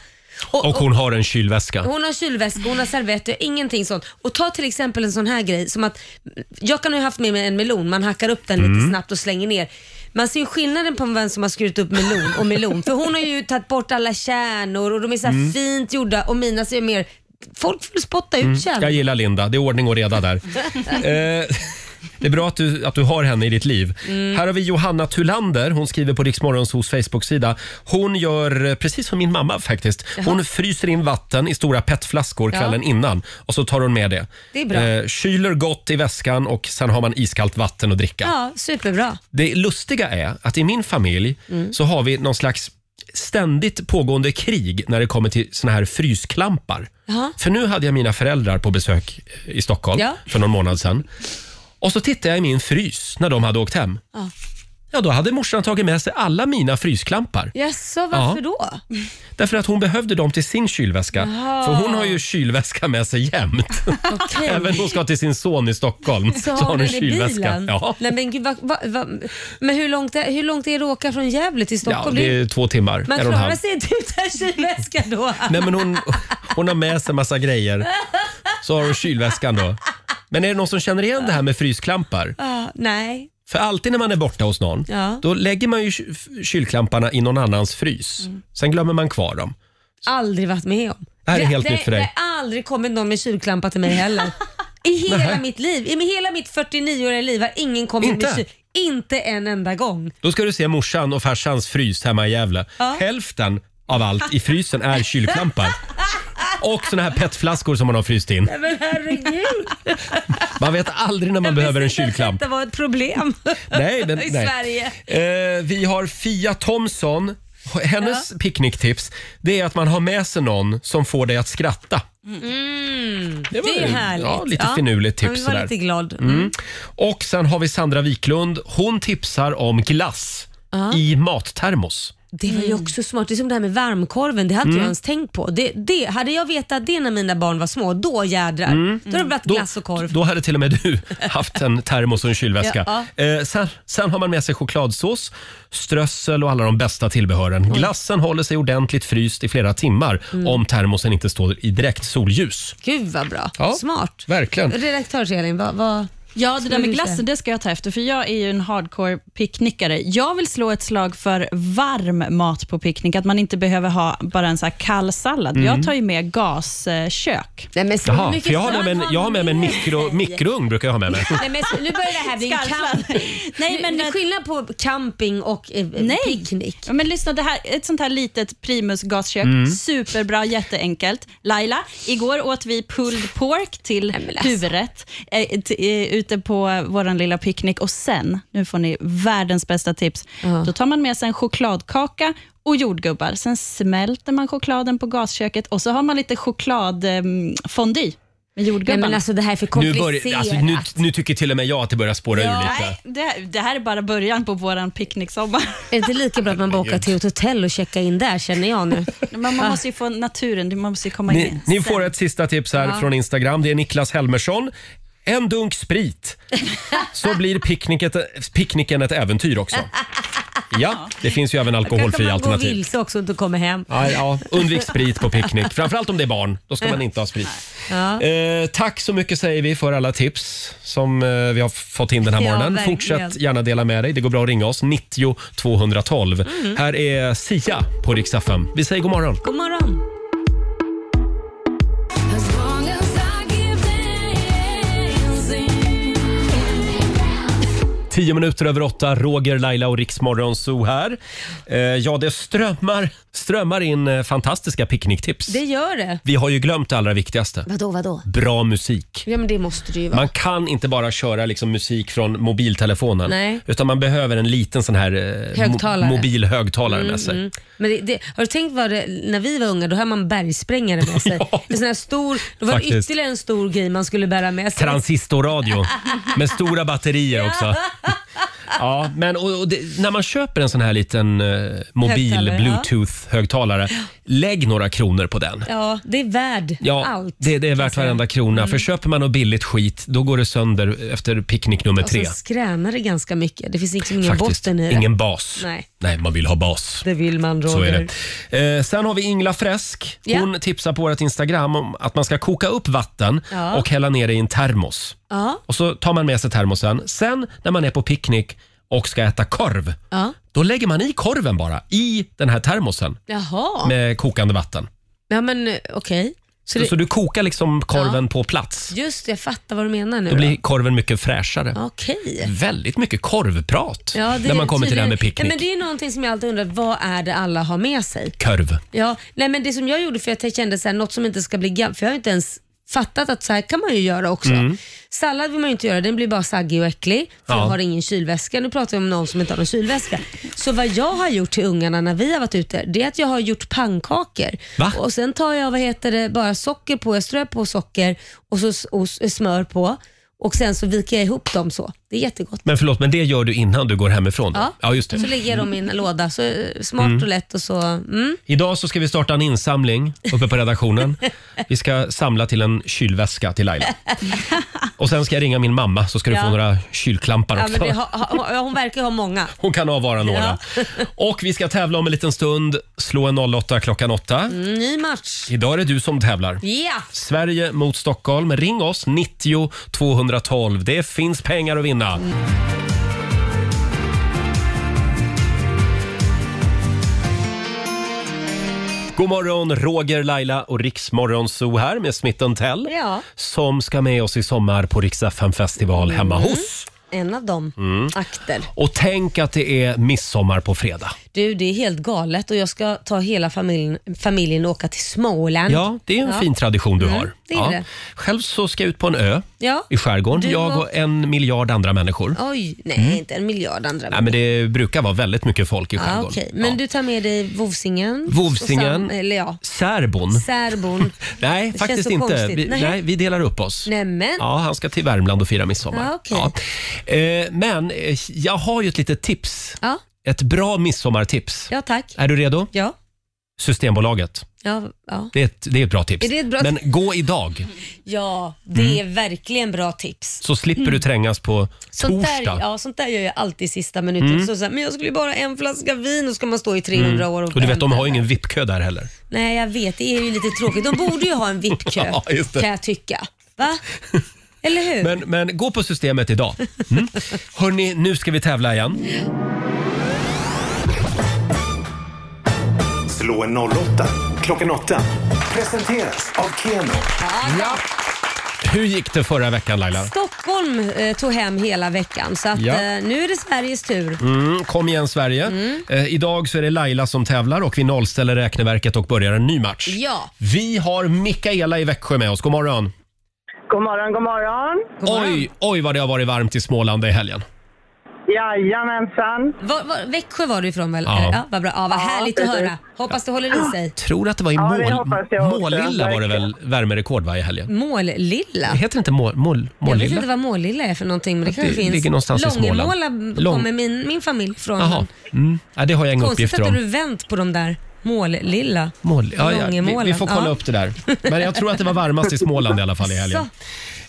A: Och, hon har en kylväska.
B: Hon har kylväska, hon har servetter, ingenting sånt. Och ta till exempel en sån här grej som att, jag kan ha haft med mig en melon, man hackar upp den lite
M: Mm.
B: snabbt och slänger ner. Man ser ju skillnaden på vem som har skurit upp melon och melon. För hon har ju tagit bort alla kärnor och de är så här
A: Mm.
B: fint gjorda och mina ser mer, folk får spotta ut
A: Mm,
B: kärnor.
A: jag gillar Linda, det är ordning och reda där. Eh, Det är bra att du, att du har henne i ditt liv.
B: Mm.
A: Här har vi Johanna Tulander. Hon skriver på Riksmorgonsos Facebook-sida. Hon gör eh, precis som min mamma faktiskt. Hon
B: Jaha.
A: fryser in vatten i stora petflaskor
B: Ja.
A: kvällen innan och så tar hon med det.
B: Det är bra.
A: Eh, kyler gott i väskan och sen har man iskallt vatten att dricka.
B: Ja, superbra.
A: Det lustiga är att i min familj
B: Mm.
A: så har vi någon slags ständigt pågående krig när det kommer till såna här frysklampar.
B: Jaha.
A: För nu hade jag mina föräldrar på besök eh, i Stockholm
B: Ja.
A: för någon månad sedan. Och så tittade jag i min frys när de hade åkt hem.
B: Ja.
A: Ja, då hade morsan tagit med sig alla mina frysklampar.
B: Jaså, varför då?
A: Därför att hon behövde dem till sin kylväska.
B: Jaha.
A: För hon har ju kylväska med sig jämt.
B: Okej.
A: Även om hon ska till sin son i Stockholm
B: Så har hon den i bilen?
A: Ja.
B: Nej, men, gud, vad- vad- vad- men hur långt, är, hur långt är det att åka från Gävle till
A: ja,
B: Stockholm?
A: det är två timmar.
B: man
A: en och en halv.
B: klarar sig inte utan kylväska då.
A: Nej, men hon, hon har med sig massa grejer. Så har hon kylväskan då. Men är det någon som känner igen det här med frysklampar?
B: Ja, Ah, nej.
A: För alltid när man är borta hos någon,
B: Ja.
A: då lägger man ju ky- f- kylklamparna i någon annans frys.
B: Mm.
A: Sen glömmer man kvar dem.
B: Aldrig varit med om.
A: Det här är helt
B: det,
A: nytt för dig.
B: Det har aldrig kommit någon med kylklampa till mig heller. I hela
A: Nej.
B: mitt liv, i hela mitt 49-åriga liv har ingen kommit
A: Inte?
B: med kyl... Inte en enda gång.
A: Då ska du se morsans och farsans frys hemma i Gävle.
B: Ja.
A: Hälften av allt i frysen är kylklampar. Och såna här petflaskor som man har fryst in.
B: Nej, men herregud.
A: Man vet aldrig när man behöver en kylklamp.
B: Det var ett problem
A: Nej, men,
B: i
A: nej.
B: Sverige.
A: Eh, vi har Fia Thomson. Hennes picknicktips det är att man har med sig någon som får dig att skratta.
B: Mm. Det,
A: var
B: är
A: ju-
B: härligt.
A: ja, lite finurligt tips
B: Ja, vi var
A: sådär.
B: lite glad.
A: Mm. Och sen har vi Sandra Wiklund. Hon tipsar om glass
B: Ja.
A: i mattermos.
B: Det var ju också smart. Det är som det här med varmkorven. Det hade
A: Mm.
B: jag ens tänkt på. Det, det, hade jag vetat det när mina barn var små, då jädrar.
A: Mm.
B: Då hade det blivit glass och korv.
A: Då hade till och med du haft en termos och en kylväska.
B: Ja,
A: Eh, sen, sen har man med sig chokladsås, strössel och alla de bästa tillbehören. Glassen håller sig ordentligt fryst i flera timmar
B: Mm.
A: om termosen inte står i direkt solljus.
B: Gud vad bra.
A: Ja,
B: Smart.
A: Verkligen.
B: Redaktörs-Elin, vad, vad...
E: Ja, det
B: Skulle
E: där med
B: du säga?
E: glassen, det ska jag ta efter, för jag är ju en hardcore picknickare. Jag vill slå ett slag för varm mat på picknick, att man inte behöver ha bara en så här kall sallad.
A: Mm.
E: Jag tar ju med gaskök.
B: Nej, men
A: Jaha, för jag har med mig en, jag har med mig en mikro, mikrougn brukar jag ha med mig.
B: Nej, men nu börjar det här bli en
E: alltså-
B: camping. Nej, men det är skillnad på camping och eh, picknick.
E: Ja, Men lyssna, det här, ett sånt här litet Primus gaskök,
B: Mm.
E: superbra, jätteenkelt. Laila, igår åt vi pulled pork till
B: alltså.
E: huvudrätt eh, t- eh, ute på vår lilla picknick och sen, nu får ni världens bästa tips, då tar man med sig en chokladkaka och jordgubbar. Sen smälter man chokladen på gasköket och så har man lite chokladfondy med jordgubbarna.
B: Nej, men alltså, det här är för
A: Nu, börjar, alltså, nu, nu tycker till och med jag att det börjar spåra ur lite.
E: det, det här är bara början på vår picknicksommar.
B: Är det inte lika bra att man bara åker till ett hotell och checkar in där känner jag nu?
E: Men man måste ju få naturen, man måste ju komma
A: Ni,
E: in.
A: ni får ett sista tips här
E: Ja.
A: från Instagram. Det är Niklas Helmersson. En dunk sprit, så blir picknicket, picknicken ett äventyr också. Ja, det finns ju även alkoholfria
B: Då kan man gå
A: alternativ.
B: vilse också och inte komma hem.
A: Ja, ja, undvik sprit på picknick, framförallt om det är barn. Då ska man inte ha sprit.
B: Ja.
A: Eh, tack så mycket säger vi för alla tips som eh, vi har fått in den här
C: Ja,
A: morgonen.
C: verkligen.
A: Fortsätt gärna dela med dig. Det går bra att ringa oss, 90 212.
B: Mm.
A: Här är Sia på riksdag 5. Vi säger god morgon.
B: God morgon.
A: Tio minuter över åtta, Roger, Laila och Riksmorgon Zoo här. Eh, ja, det strömmar, strömmar in eh, fantastiska picknicktips.
B: Det gör det.
A: Vi har ju glömt det allra viktigaste.
B: Vadå, vadå?
A: Bra musik.
B: Ja, men det måste det ju vara.
A: Man kan inte bara köra liksom musik från mobiltelefonen.
B: Nej.
A: Utan man behöver en liten sån här eh,
B: Högtalare.
A: mo- mobilhögtalare med sig.
B: Mm, mm. Men det, det, har du tänkt vad det, när vi var unga, då hade man bergsprängare med sig. en sån här stor, då var det
A: Faktiskt.
B: ytterligare en Alltså, stor grej man skulle bära med sig.
A: Transistorradio med stora batterier också. Ja, men och, och det, när man köper en sån här liten eh, mobil
B: Högtalare, ja.
A: bluetooth-högtalare, lägg några kronor på den.
B: Ja, det är värd
A: Ja,
B: allt.
A: det, det är värt varenda krona.
B: Mm.
A: För köper man något billigt skit, då går det sönder efter picknick nummer
B: och
A: tre.
B: så skränar det ganska mycket. Det finns liksom ingen
A: Faktiskt,
B: botten i det.
A: ingen bas.
B: Nej,
A: Nej, man vill ha bas.
B: det vill man Roger.
A: Så är det. Eh, sen har vi Ingla Fräsk.
B: Ja.
A: Hon tipsar på vårt Instagram om att man ska koka upp vatten
B: Ja.
A: och hälla ner det i en termos.
B: Ja.
A: Och så tar man med sig termosen. Sen när man är på picknick och ska äta korv,
B: ja.
A: då lägger man i korven bara i den här termosen
B: Jaha.
A: med kokande vatten.
B: ja, men eh, okej.
A: Så,
B: Så det-
A: så du kokar liksom korven
B: Ja.
A: på plats.
B: Just det, jag fattar vad du menar nu.
A: Då blir
B: då.
A: korven mycket fräschare.
B: Okej.
A: Väldigt mycket korvprat
B: Ja,
A: när man kommer till det här med
B: tydligen-
A: picknick.
B: Nej, men det är någonting som jag alltid undrar, vad är det alla har med sig?
A: Korv.
B: Ja, nej men det som jag gjorde för jag kände så här, något som inte ska bli gammalt, för jag har inte ens fattat att så här kan man ju göra också.
A: Mm.
B: Sallad vill man ju inte göra, den blir bara saggig och äcklig för
A: Ja.
B: jag har ingen kylväska. Nu pratar vi om någon som inte har någon kylväska. Så vad jag har gjort till ungarna när vi har varit ute, det är att jag har gjort pannkakor.
I: Va?
B: Och sen tar jag, vad heter det, bara socker på, jag strör på socker och så s- och s- smör på och sen så viker jag ihop dem så. Det är jättegott.
A: Men förlåt, men det gör du innan du går hemifrån? då?
B: Ja,
A: ja just det.
B: Så lägger jag dem i en låda, så eh, smart
A: Mm.
B: och lätt och så. Mm.
A: Idag så ska vi starta en insamling uppe på redaktionen. Vi ska samla till en kylväska till Laila. Och sen ska jag ringa min mamma så ska du få
B: Ja.
A: några kylklampar
B: Ja,
A: också.
B: men det, ha, ha, hon verkar ha många.
A: Hon kan avvara några. Och vi ska tävla om en liten stund. Slå en 08 klockan 8.
B: Mm, Ny match.
A: Idag är det du som tävlar.
B: Ja!
A: Sverige mot Stockholm. Ring oss, 90 212. Det finns pengar att vinna. God morgon, Roger, Laila och Riksmorgon Zoo här med Smitten Tell
B: Ja.
A: som ska med oss i sommar på Riksdagen festival hemma hos.
B: Mm. En av dem.
A: Mm.
B: Akter.
A: Och tänk att det är midsommar på fredag.
B: Du, det är helt galet och jag ska ta hela familjen, familjen och åka till Småland.
A: Ja, det är en
B: Ja. Mm,
A: fin tradition du har.
B: det är
A: ja.
B: det.
A: Själv så ska jag ut på en ö
B: Ja.
A: i skärgården,
B: Du
A: jag
B: och-
A: och en miljard andra människor.
B: Oj, nej,
A: Mm.
B: inte en miljard andra.
A: Nej, men det brukar vara väldigt mycket folk i
B: ah,
A: skärgården.
B: okej. Men du tar med dig vovsingen?
A: Vovsingen.
B: Sam- Eller ja,
A: Särbon?
B: särbon.
A: Nej,
B: Det känns
A: faktiskt
B: så
A: inte.
B: konstigt.
A: Vi,
B: Nej.
A: nej, vi delar upp oss.
B: Nämen.
A: Ja, han ska till Värmland och fira midsommar.
B: Ah, okej.
A: Ja. Eh, men eh, jag har ju ett litet tips.
B: Ja.
A: Ett bra midsommartips.
B: ja, tack.
A: Är du redo?
B: Ja.
A: Systembolaget.
B: Ja, ja.
A: Det är ett, det är ett bra tips.
B: Är det ett bra
A: men
B: tips?
A: gå idag
B: ja, det
A: Mm.
B: är verkligen bra tips.
A: så slipper
B: Mm.
A: du trängas på
B: Sånt där,
A: torsdag.
B: ja, sånt där gör jag alltid i sista minuten.
A: Mm.
B: Så, så här, men jag skulle ju bara ha en flaska vin och ska man stå i 300 år.
A: Och du vet, de har ju ingen VIP-kö där heller.
B: Nej, jag vet. Det är ju lite tråkigt. De borde ju ha en VIP-kö,
A: Ja, just det.
B: kan jag tycka. Va? Eller hur?
A: Men, men gå på systemet idag. Mm. Hörni, nu ska vi tävla igen.
C: Slå en 08 klockan 8. Presenteras av Keno.
B: Ja.
A: Hur gick det förra veckan Laila?
B: Stockholm eh, tog hem hela veckan, så att,
A: Ja.
B: eh, nu är det Sveriges tur.
A: Mm, kom igen Sverige.
B: Mm.
A: Eh, idag så är det Laila som tävlar och vi nollställer räkneverket och börjar en ny match.
B: Ja.
A: Vi har Mikaela i Växjö med oss. God morgon.
D: God morgon, god morgon.
A: Oj, oj vad det har varit varmt i Småland i helgen.
D: Jajamensan.
B: Var, var, Växjö var du ifrån väl?
A: Ja.
B: Ja. Ja, vad bra. Ja, vad
D: Ja,
B: härligt att
D: precis.
B: höra. Hoppas det håller i sig.
A: Tror att det var i
B: Ja, det
A: Mål,
B: hoppas jag också.
A: Målilla var det väl värmerekord va, i helgen?
B: Mållilla?
A: Det heter inte mål, mål,
B: Jag vet inte
A: Målilla?
B: vad Målilla är för någonting, men det kanske
A: Det
B: finns.
A: ligger någonstans i Småland.
B: Långemåla
A: Lång-
B: kommer min, min familj från.
A: Jaha. Mm. Ja, det har jag inga
B: Konstigt
A: uppgifter
B: att du
A: om.
B: vänt på de där Mållilla.
A: Mål, ja, ja, vi,
B: Långemålen.
A: vi får kolla
B: Ja.
A: upp det där. Men jag tror att det var varmast i Småland i alla fall i helgen.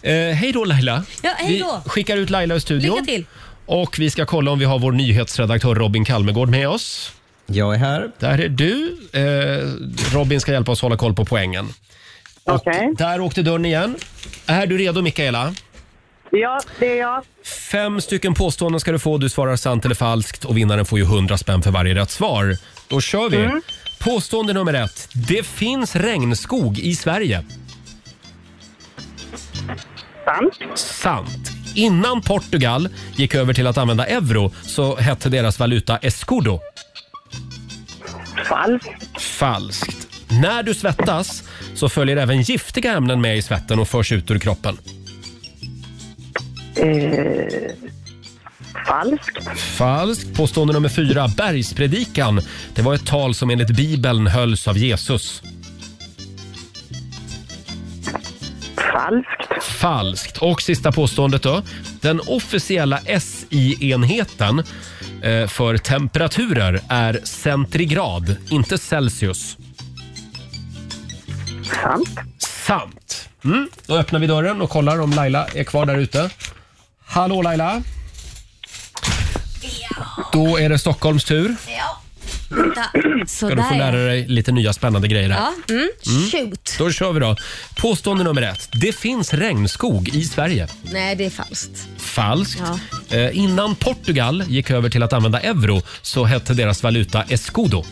A: Eh, hej då Laila.
B: Ja, hej då.
A: Vi skickar ut Laila i studion.
B: Lycka till.
A: Och vi ska kolla om vi har vår nyhetsredaktör Robin Kalmegård med oss. Jag är här. Där är du. Eh, Robin ska hjälpa oss hålla koll på poängen. Och Där åkte dörren igen. Är du redo Mikaela?
D: Ja, det är jag.
A: Fem stycken påståenden ska du få. Du svarar sant eller falskt och vinnaren får ju 100 spänn för varje rätt svar. Då kör vi.
D: Mm.
A: Påstående nummer ett. Det finns regnskog i Sverige.
D: Sant.
A: Sant. Innan Portugal gick över till att använda euro så hette deras valuta escudo.
D: Falskt.
A: Falskt. När du svettas så följer även giftiga ämnen med i svetten och förs ut ur kroppen.
D: Eh, falskt.
A: Falskt. Påstående nummer fyra. Bergspredikan. Det var ett tal som enligt Bibeln hölls av Jesus.
D: Falskt.
A: Falskt. Och sista påståendet då. Den officiella S SI-enheten eh, för temperaturer är centigrad, inte Celsius. Sant. Sant. Mm. Då öppnar vi dörren och kollar om Laila är kvar där ute. Hallå Laila! Då är det Stockholms tur. Ska du få lära dig lite nya spännande grejer här.
B: Ja, mm.
A: Mm.
B: Shoot.
A: Då kör vi då. Påstående nummer ett. Det finns regnskog i Sverige.
B: Nej, det är falskt.
A: Falskt.
B: Ja.
A: Eh, innan Portugal gick över till att använda euro så hette deras valuta escudo.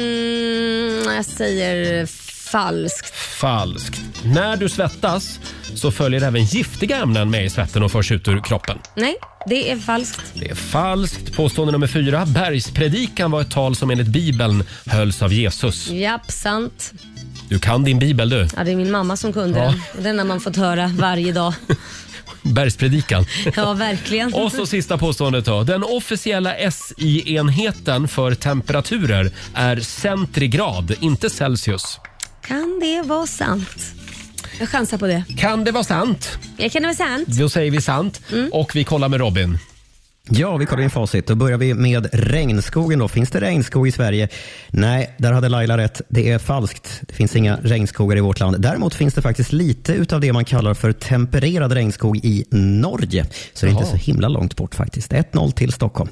B: Mm, jag säger falskt.
A: Falskt. När du svettas så följer även giftiga ämnen med i svetten och förs ut ur kroppen.
B: Nej, det är falskt.
A: Det är falskt. Påstående nummer fyra. Bergspredikan var ett tal som enligt Bibeln hölls av Jesus.
B: Japp, sant.
A: Du kan din bibel du.
B: Ja, det är min mamma som kunde
A: Ja.
B: den. Och Den har man fått höra varje dag.
A: Bergspredikan.
B: Ja, verkligen.
A: Och så sista påståendet då. Den officiella SI-enheten för temperaturer är centigrad, inte Celsius.
B: Kan det vara sant? Jag chansar på det.
A: Kan det vara sant?
B: Jag kan det vara sant.
A: Då säger vi sant
B: Mm.
A: och vi kollar med Robin.
H: Ja, vi kollar in facit. Då börjar vi med regnskogen. Då. Finns det regnskog i Sverige? Nej, där hade Laila rätt. Det är falskt. Det finns inga regnskogar i vårt land. Däremot finns det faktiskt lite utav det man kallar för tempererad regnskog i Norge. Så det är inte
M: Jaha.
H: så himla långt bort faktiskt. 1-0 till Stockholm.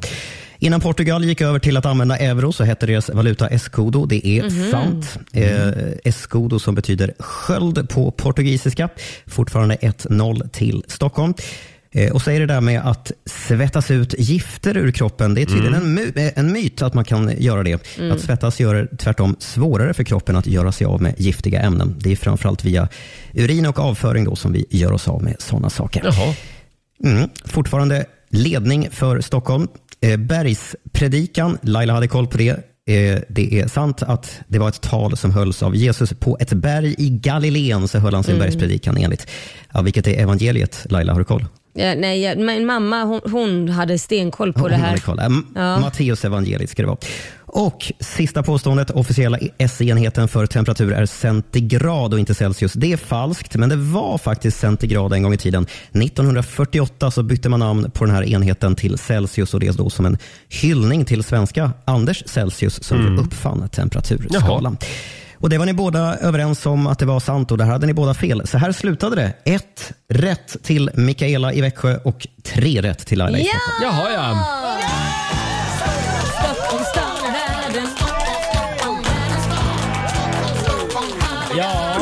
H: Innan Portugal gick över till att använda euro så hette deras valuta escudo. Det är
M: Mhm.
H: sant. Eh, escudo som betyder sköld på portugisiska. Fortfarande 1-0 till Stockholm. Eh, och så är det där med att svettas ut gifter ur kroppen. Det är tydligen
M: Mm.
H: en, my- eh, en myt att man kan göra det.
M: Mm.
H: Att svettas gör det tvärtom svårare för kroppen att göra sig av med giftiga ämnen. Det är framförallt via urin och avföring då som vi gör oss av med sådana saker. Mm. Fortfarande ledning för Stockholm. Eh, Bergspredikan, Laila hade koll på det. Eh, Det är sant att det var ett tal som hölls av Jesus på ett berg i Galileen. Så höll han sin
B: Mm.
H: bergspredikan enligt, ja, vilket är evangeliet. Laila, har du koll?
B: Ja, nej, jag, min mamma hon, hon hade stenkoll på det
H: Hon hade
B: här.
H: koll. M-
B: Ja.
H: Mm. Matteus evangeliet ska det vara. Och sista påståendet, officiella SI-enheten för temperatur är centigrad och inte Celsius. Det är falskt, men det var faktiskt centigrad en gång i tiden. 1948 så bytte man namn på den här enheten till Celsius och det är då som en hyllning till svenska Anders Celsius som
M: Mm.
H: uppfann temperaturskalan. Och Det var ni båda överens om att det var sant och där hade ni båda fel. Så här slutade det. Ett rätt till Mikaela i Växjö och tre rätt till Laila i Stockholm.
A: Jaha, ja.
B: Stockholm stad, världen.
A: Ja,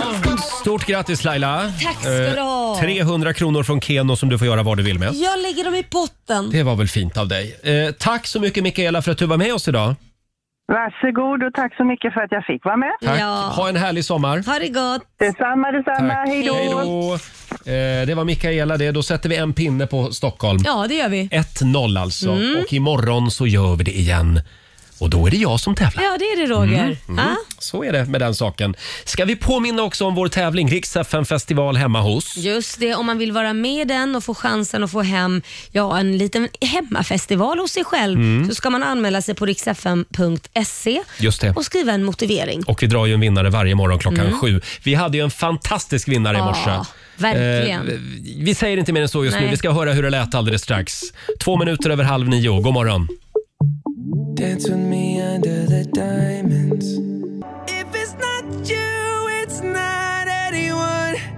A: stort grattis Laila.
B: Ah. Tack ska du ha.
A: Eh, 300 kronor från Keno som du får göra vad du vill med.
B: Jag lägger dem i potten.
A: Det var väl fint av dig. Eh, tack så mycket Mikaela för att du var med oss idag.
N: Varsågod och tack så mycket för att jag fick vara med.
A: Tack. Ha en härlig sommar.
B: Ha det gott.
N: Detsamma, detsamma.
A: Tack.
N: Hej
A: Hej
N: då.
A: då. Eh, det var Mikaela det. Då sätter vi en pinne på Stockholm.
B: Ja, det gör vi.
A: 1-0 alltså.
B: Mm.
A: Och imorgon så gör vi det igen. Och då är det jag som tävlar.
B: Ja, det är det Roger.
A: Mm, mm.
B: Ja.
A: Så är det med den saken. Ska vi påminna också om vår tävling, Rix FM festival hemma hos?
B: Just det, om man vill vara med i den och få chansen att få hem ja, en liten hemmafestival hos sig själv
A: Mm.
B: så ska man anmäla sig på riksfm.se
A: Just det.
B: och skriva en motivering.
A: Och vi drar ju en vinnare varje morgon klockan
B: Mm.
A: sju. Vi hade ju en fantastisk vinnare i
B: Ja,
A: morse.
B: verkligen.
A: Eh, vi säger inte mer än så just nu.
B: Nej.
A: Vi ska höra hur det lät alldeles strax. Två minuter över halv nio. God morgon.
I: Dance with me under the diamonds.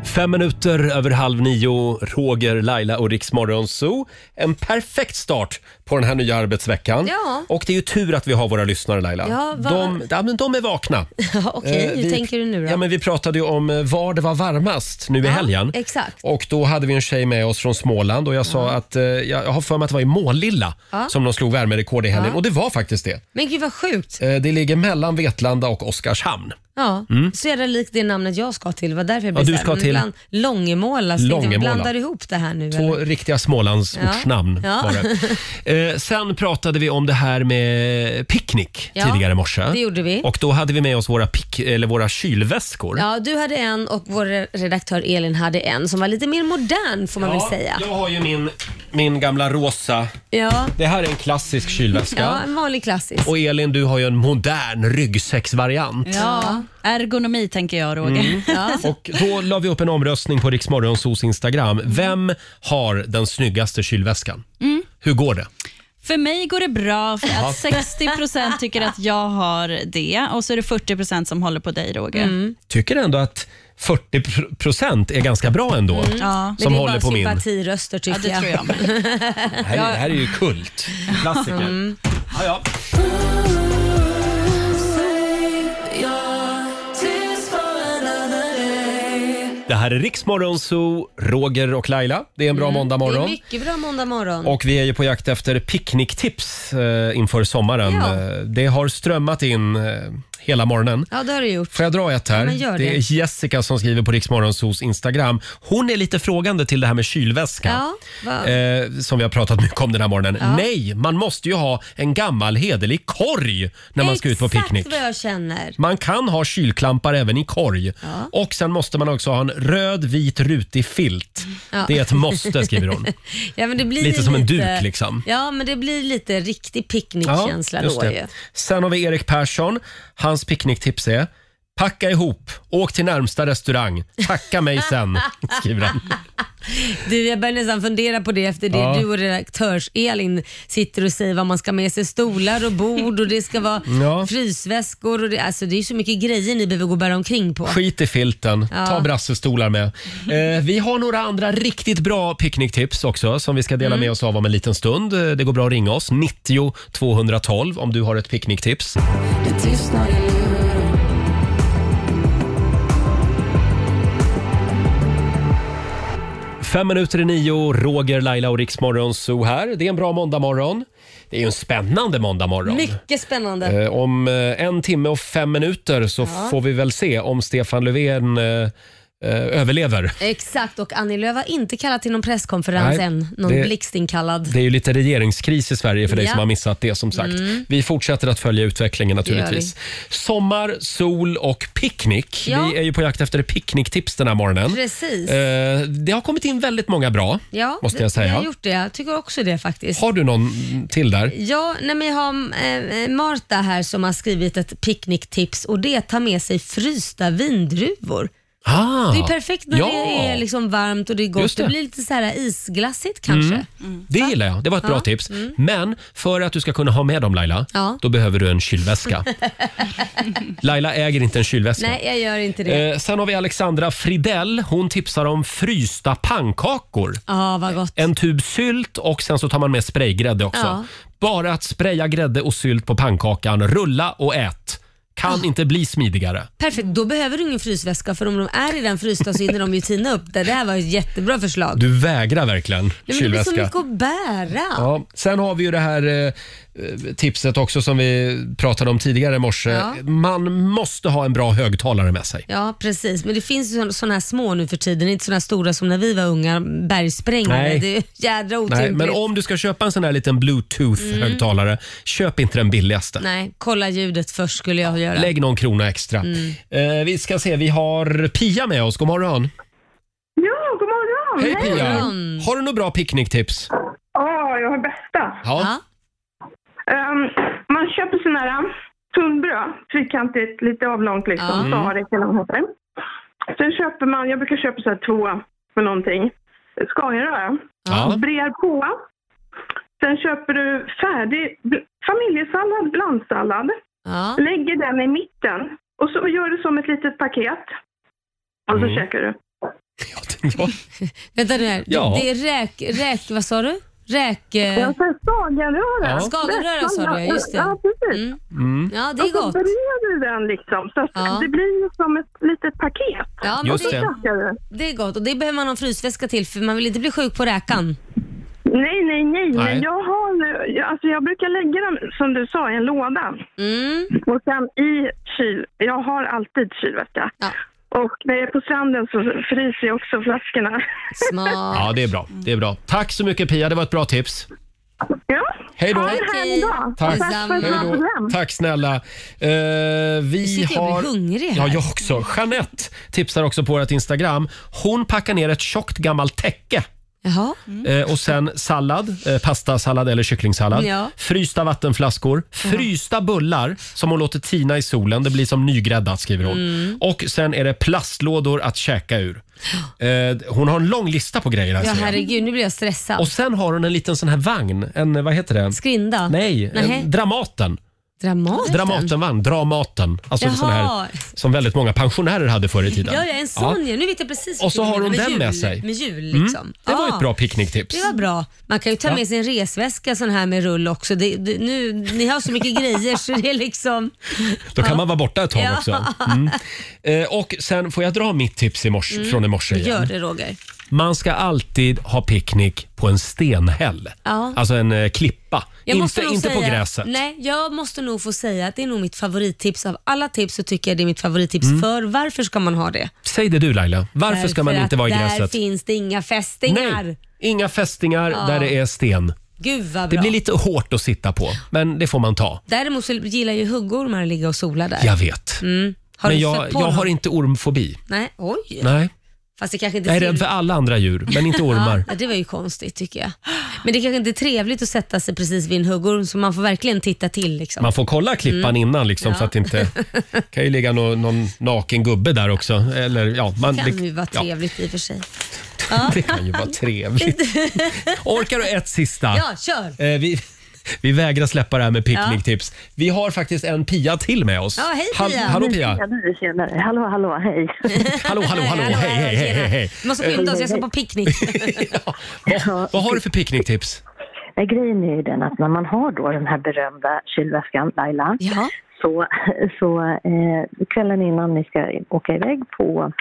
A: Fem minuter över halv nio, Roger, Laila och Rix Morgon Zoo. En perfekt start på den här nya arbetsveckan.
B: Ja.
A: Och det är ju tur att vi har våra lyssnare Laila.
B: Ja, vad-
A: de, ja, men de är vakna.
B: Ja, Okej,
A: Eh,
B: hur
A: vi-
B: tänker du nu då?
A: Ja, men vi pratade ju om eh, var det var varmast nu i
B: Ja,
A: helgen.
B: Exakt.
A: Och då hade vi en tjej med oss från Småland och jag sa att eh, jag jag har för mig att det var i Målilla
B: Ja.
A: som de slog värmerekord i helgen
B: Ja.
A: och det var faktiskt det.
B: Men gud vad sjukt.
A: Eh, det ligger mellan Vetlanda och Oskarshamn.
B: Ja,
A: Mm.
B: så är det likt det namnet jag ska till. Det var därför jag
A: Ja,
B: blev
A: du
B: så
A: ska
B: här, men
A: till-
B: bland Långemåla. så tänkte jag,
A: Långemåla.
B: Blandar du ihop det här nu
A: Två
B: eller?
A: riktiga Smålandsortsnamn
B: Ja.
A: var
B: Ja.
A: det. Eh, sen pratade vi om det här med picknick
B: Ja,
A: tidigare i morse.
B: det gjorde vi.
A: Och då hade vi med oss våra, pick, eller våra kylväskor.
B: Ja, du hade en och vår redaktör Elin hade en som var lite mer modern får man
A: Ja,
B: väl säga.
A: Jag har ju min, min gamla rosa.
B: Ja,
A: Det här är en klassisk kylväska.
B: ja en vanlig klassisk.
A: Och Elin, du har ju en modern ryggsäcksvariant.
E: Ja, ergonomi tänker jag Roger.
A: Mm.
E: Ja.
A: Och då la vi upp
B: Mm.
A: en omröstning på Riksmorgonsos Instagram. Vem har den snyggaste kylväskan?
E: Mm.
A: Hur går det?
E: För mig går det bra för
A: Ja.
E: att 60 tycker att jag har det och så är det 40 som håller på dig, Roger.
A: Tycker ändå att 40 pr- procent är ganska bra ändå.
E: Mm. Ja.
A: Som håller på min.
B: Sympatiröster tycker
E: Ja, det tror jag
A: Det här, är- det här är ju kult. Klassiker.
B: Mm.
A: Ja, ja. Det här är Riksmorgon Zoo, Roger och Laila. Det är en bra måndag
B: Mm. Det är
A: morgon.
B: mycket bra måndag morgon.
A: Och vi är ju på jakt efter picknicktips eh, inför sommaren.
B: Ja.
A: Eh, Det har strömmat in eh, hela morgonen.
B: Ja, det har du gjort.
A: Får jag dra ett här?
B: Ja, men gör det.
A: är Jessica som skriver på Riksmorgonsos Instagram. Hon är lite frågande till det här med kylväska.
B: Ja, va?
A: Eh, som vi har pratat mycket om den här morgonen.
B: Ja.
A: Nej, man måste ju ha en gammal hederlig korg när man ska ut på picknick.
B: Exakt vad jag känner.
A: Man kan ha kylklampar även i korg.
B: Ja.
A: Och sen måste man också ha en röd, vit, rutig filt.
B: Mm. Ja.
A: Det är ett måste, skriver hon.
B: ja, men det blir
A: Lite som en duk, liksom.
B: Ja, men det blir lite riktig picknickkänsla
A: just
B: då
A: det.
B: ju.
A: Sen har vi Erik Persson. Hans picknicktips är Packa ihop, åk till närmsta restaurang, tacka mig sen, skriver han.
B: Du, jag börjar nästan fundera på det efter det
A: Ja.
B: du och redaktörs-Elin sitter och säger vad man ska ha med sig. Stolar och bord och det ska vara
A: Ja.
B: frysväskor. Och det, alltså, det är så mycket grejer ni behöver gå och bära omkring på.
A: Skit i filten,
B: Ja.
A: ta brassestolar med. Eh, vi har några andra riktigt bra picknicktips också som vi ska
B: Mm.
A: dela med oss av om en liten stund. Eh, Det går bra att ringa oss, 90 212 om du har ett picknicktips. Fem minuter i nio, Roger, Laila och Riksmorgon Zoo här. Det är en bra måndagmorgon. Det är ju en spännande måndagmorgon.
B: Mycket spännande.
A: Eh, Om eh, en timme och fem minuter så
B: Ja.
A: får vi väl se om Stefan Löfven eh, eh, överlever.
B: Exakt, och Annie Lööf har inte kallat till någon presskonferens
A: Nej,
B: än. Någon
A: det-
B: blixtinkallad.
A: Det är ju lite regeringskris i Sverige för dig
B: Ja.
A: som har missat det som sagt.
B: Mm.
A: Vi fortsätter att följa utvecklingen
B: Det gör
A: naturligtvis. Sommar, sol och picknick.
B: Ja.
A: Vi är ju på jakt efter picknicktips den här morgonen.
B: Precis.
A: Eh, det har kommit in väldigt många bra,
B: Ja,
A: måste
B: det-
A: jag säga.
B: Jag har gjort det. Jag tycker också det faktiskt.
A: Har du någon till där?
B: Ja, nej, men jag har eh, Marta här som har skrivit ett picknicktips och det är att ta med sig frysta vindruvor.
A: Ah,
B: Det är perfekt när
A: ja.
B: det är liksom varmt och det är gott.
A: Just
B: Det.
A: det.
B: blir lite så här isglassigt kanske.
A: Mm. Det gillar jag. Det var ett bra
B: Ja.
A: tips.
B: Mm.
A: Men för att du ska kunna ha med dem Laila,
B: Ja.
A: då behöver du en kylväska. Laila äger inte en kylväska.
B: Nej, jag gör inte det.
A: Alltså. Eh, sen har vi Alexandra Fridell. Hon tipsar om frysta pannkakor.
B: Ja, vad gott.
A: En tub sylt och sen så tar man med spraygrädde också.
B: Ja.
A: Bara att spraya grädde och sylt på pannkakan, rulla och ät. Kan
B: Ah.
A: inte bli smidigare.
B: Perfekt, då behöver du ingen frysväska för om de är redan frysta så hinner de ju tina upp det. Det här var ett jättebra förslag.
A: Du vägrar verkligen
B: Nej, men det blir
A: kylväska.
B: så mycket att bära.
A: Ja, sen har vi ju det här eh, eh, tipset också som vi pratade om tidigare i morse.
B: Ja.
A: Man måste ha en bra högtalare med sig.
B: Ja, precis. Men det finns ju sådana här små nu för tiden, inte sådana stora som när vi var unga, bergsprängare.
A: Nej.
B: Det är ju jädra
A: Nej,
B: otympligt.
A: men om du ska köpa en sån här liten bluetooth-högtalare, köp inte den billigaste.
B: Nej, kolla ljudet först skulle jag göra.
A: Lägg någon krona extra.
B: Mm.
A: Eh, vi ska se, vi har Pia med oss. God morgon.
M: Ja, god morgon!
A: Hej Pia! Har du några bra picknicktips?
M: Ja, jag har bästa.
A: Ja.
M: Ehm, man köper sån här äh, tunnbröd, fyrkantigt, lite avlångt liksom,
O: Ja.
M: så har det kilometer. Sen köper man, jag brukar köpa så här två med någonting, Scaniaröra.
O: Ja.
M: Brer på. Sen köper du färdig bl- familjesallad, blandsallad. Lägger den i mitten och så gör du som ett litet paket. Och så
A: Mm.
M: käkar du.
B: Vänta nu här.
M: Ja.
B: Det är räk, räk... Vad sa du? Räk... eh,
M: Jag sa skagenröra.
B: Ja. Skagenröra sa du, ja, just det.
M: Ja, precis.
A: Mm.
B: Ja, det är
M: Och
B: gott.
M: så brer Alltså, du den liksom, så att
B: Ja.
M: det blir ju som ett litet paket.
B: Ja, men
M: Just
B: det,
M: det.
B: det är gott och det behöver man ha en frysväska till för man vill inte bli sjuk på räkan.
M: Nej, nej, nej,
B: Nej.
M: men jag har nu, jag- alltså jag brukar lägga dem som du sa i en låda.
B: Mm.
M: Och sen i kyl, jag har alltid kylväska. Och när jag är på stranden så fryser jag också flaskorna.
B: Smart.
A: Ja, det är bra. Det är bra. Tack så mycket Pia, det var ett bra tips.
M: Ja.
A: Hej då!
M: Ha en härlig dag.
A: Tack.
M: Tack för ett bra
A: Hej då.
M: program.
A: Tack snälla. Eh, vi
M: sitter och blir
A: har...
M: hungrig här.
A: Ja, jag också. Jeanette tipsar också på vårt Instagram. Hon packar ner ett tjockt gammalt täcke
B: Jaha.
A: Eh, och sen sallad, eh, pastasallad eller kycklingsallad.
B: Ja.
A: Frysta vattenflaskor, frysta bullar som hon låter tina i solen. Det blir som nygräddat skriver hon.
B: Mm.
A: Och sen är det plastlådor att käka ur. Eh, hon har en lång lista på grejer här
B: Ja,
A: ser jag.
B: herregud, nu blir jag stressad.
A: Och sen har hon en liten sån här vagn. En, eh, vad heter det?
B: Skrinda?
A: Nej,
B: Nähä.
A: en, Dramaten.
B: Dramaten?
A: Dramatenvagn, Dramaten. Alltså en sån
B: Jaha.
A: här som väldigt många pensionärer hade förr i tiden.
B: Ja, ja, en sån
A: Ja.
B: ja. Nu vet jag precis.
A: Och så
B: vilken
A: har
B: du
A: hon
B: menar,
A: den med
B: jul,
A: sig.
B: Med jul
A: Mm.
B: liksom.
A: Det var
B: Ah,
A: ett bra picknicktips.
B: Det var bra. Man kan ju ta
A: Ja.
B: med sig en resväska sån här med rull också. Det, det, nu, ni har så mycket grejer så det är liksom...
A: Då kan
B: Ja.
A: man vara borta ett tag
B: Ja.
A: också. Mm. Eh, och sen får jag dra mitt tips i morse,
B: Mm.
A: från i morse igen.
B: Gör det Roger.
A: Man ska alltid ha picknick på en stenhäll.
B: Ja.
A: Alltså en eh, klippa.
B: Jag måste
A: Inte,
B: nog
A: inte på
B: säga-
A: gräset.
B: Nej, jag måste nog få säga att det är nog mitt favorittips. Av alla tips så tycker jag det är mitt favorittips.
A: Mm.
B: För varför ska man ha det?
A: Säg det du Laila. Varför ska man
B: Därför
A: inte
B: att
A: vara i
B: Där
A: gräset?
B: finns det inga fästingar.
A: Nej, inga fästingar
B: Ja.
A: där det är sten.
B: Gud vad bra.
A: Det blir lite hårt att sitta på, men det får man ta.
B: Däremot så gillar ju huggormar att ligga och sola där.
A: Jag vet.
B: Mm. Har
A: men
B: du
A: jag,
B: stött på
A: jag har
B: någon?
A: inte ormfobi.
B: Nej, oj.
A: Nej.
B: Fast det kanske inte
A: Jag är
B: ser-
A: rädd för alla andra djur, men inte ormar.
B: Ja, det var ju konstigt tycker jag. Men det kanske inte är trevligt att sätta sig precis vid en huggorm så man får verkligen titta till. Liksom.
A: Man får kolla klippan
B: Mm.
A: innan liksom,
B: Ja.
A: så att inte... kan ju ligga någon, någon naken gubbe där också. Eller, ja, man,
B: Det kan ju vara
A: ja,
B: trevligt i och för sig.
A: det kan ju vara trevligt. Orkar du ett sista?
B: Ja, kör!
A: Eh, vi, vi vägrar släppa det här med picknicktips. Vi har faktiskt en Pia till med oss.
N: Ja, hej Pia!
A: Hall- hallå Pia!
N: Tjenare, tjenare. Hallå, hallå, hej.
A: Hallå, hallå, hallå! Hej, hej, hej, hej, hej!
B: Vi måste skynda oss,
N: Eh,
B: jag ska på picknick.
A: Vad, vad har du för picknicktips?
N: Nej, Eh, Grejen är ju den att när man har då den här berömda kylväskan, Laila, så, så eh, kvällen innan ni ska åka iväg på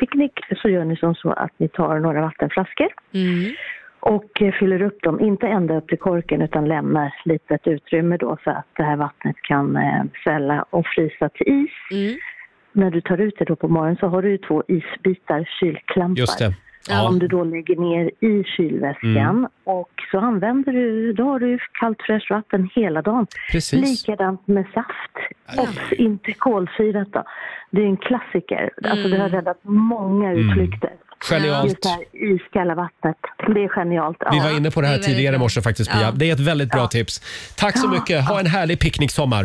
N: picknick så gör ni som så att ni tar några vattenflaskor och eh, fyller upp dem, inte ända upp till korken utan lämnar litet utrymme då så att det här vattnet kan eh, svälla och frysa till is. När du tar ut det då på morgonen så har du ju två isbitar, kylklampar.
A: Just det.
N: Ja. Om du då lägger ner i kylväskan
A: Mm.
N: och så använder du, då har du ju kallt fräscht vatten hela dagen.
A: Precis.
N: Likadant med saft. Obs, inte kolsyrat då. Det är en klassiker. Alltså det har räddat många utflykter.
A: Mm. Genialt.
N: Just det här iskalla vattnet. Det är genialt.
A: Vi
N: Ja.
A: var inne på det här tidigare i morse faktiskt Pia.
N: Ja.
A: Det är ett väldigt bra tips. Tack så mycket. Ha en härlig picknicksommar.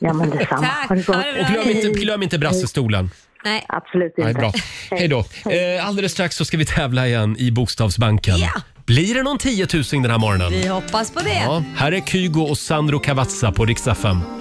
N: Ja, men detsamma.
B: Tack.
N: Ha det gott.
B: Ha det bra.
A: Och glöm inte, glöm inte brassestolen.
B: Nej.
N: Absolut inte.
A: Nej, bra. Hej då. Eh, alldeles strax så ska vi tävla igen i Bokstavsbanken.
B: Ja.
A: Blir det någon 10 000 den här morgonen?
B: Vi hoppas på det.
A: Ja, här är Kygo och Sandro Cavazza på Rix FM.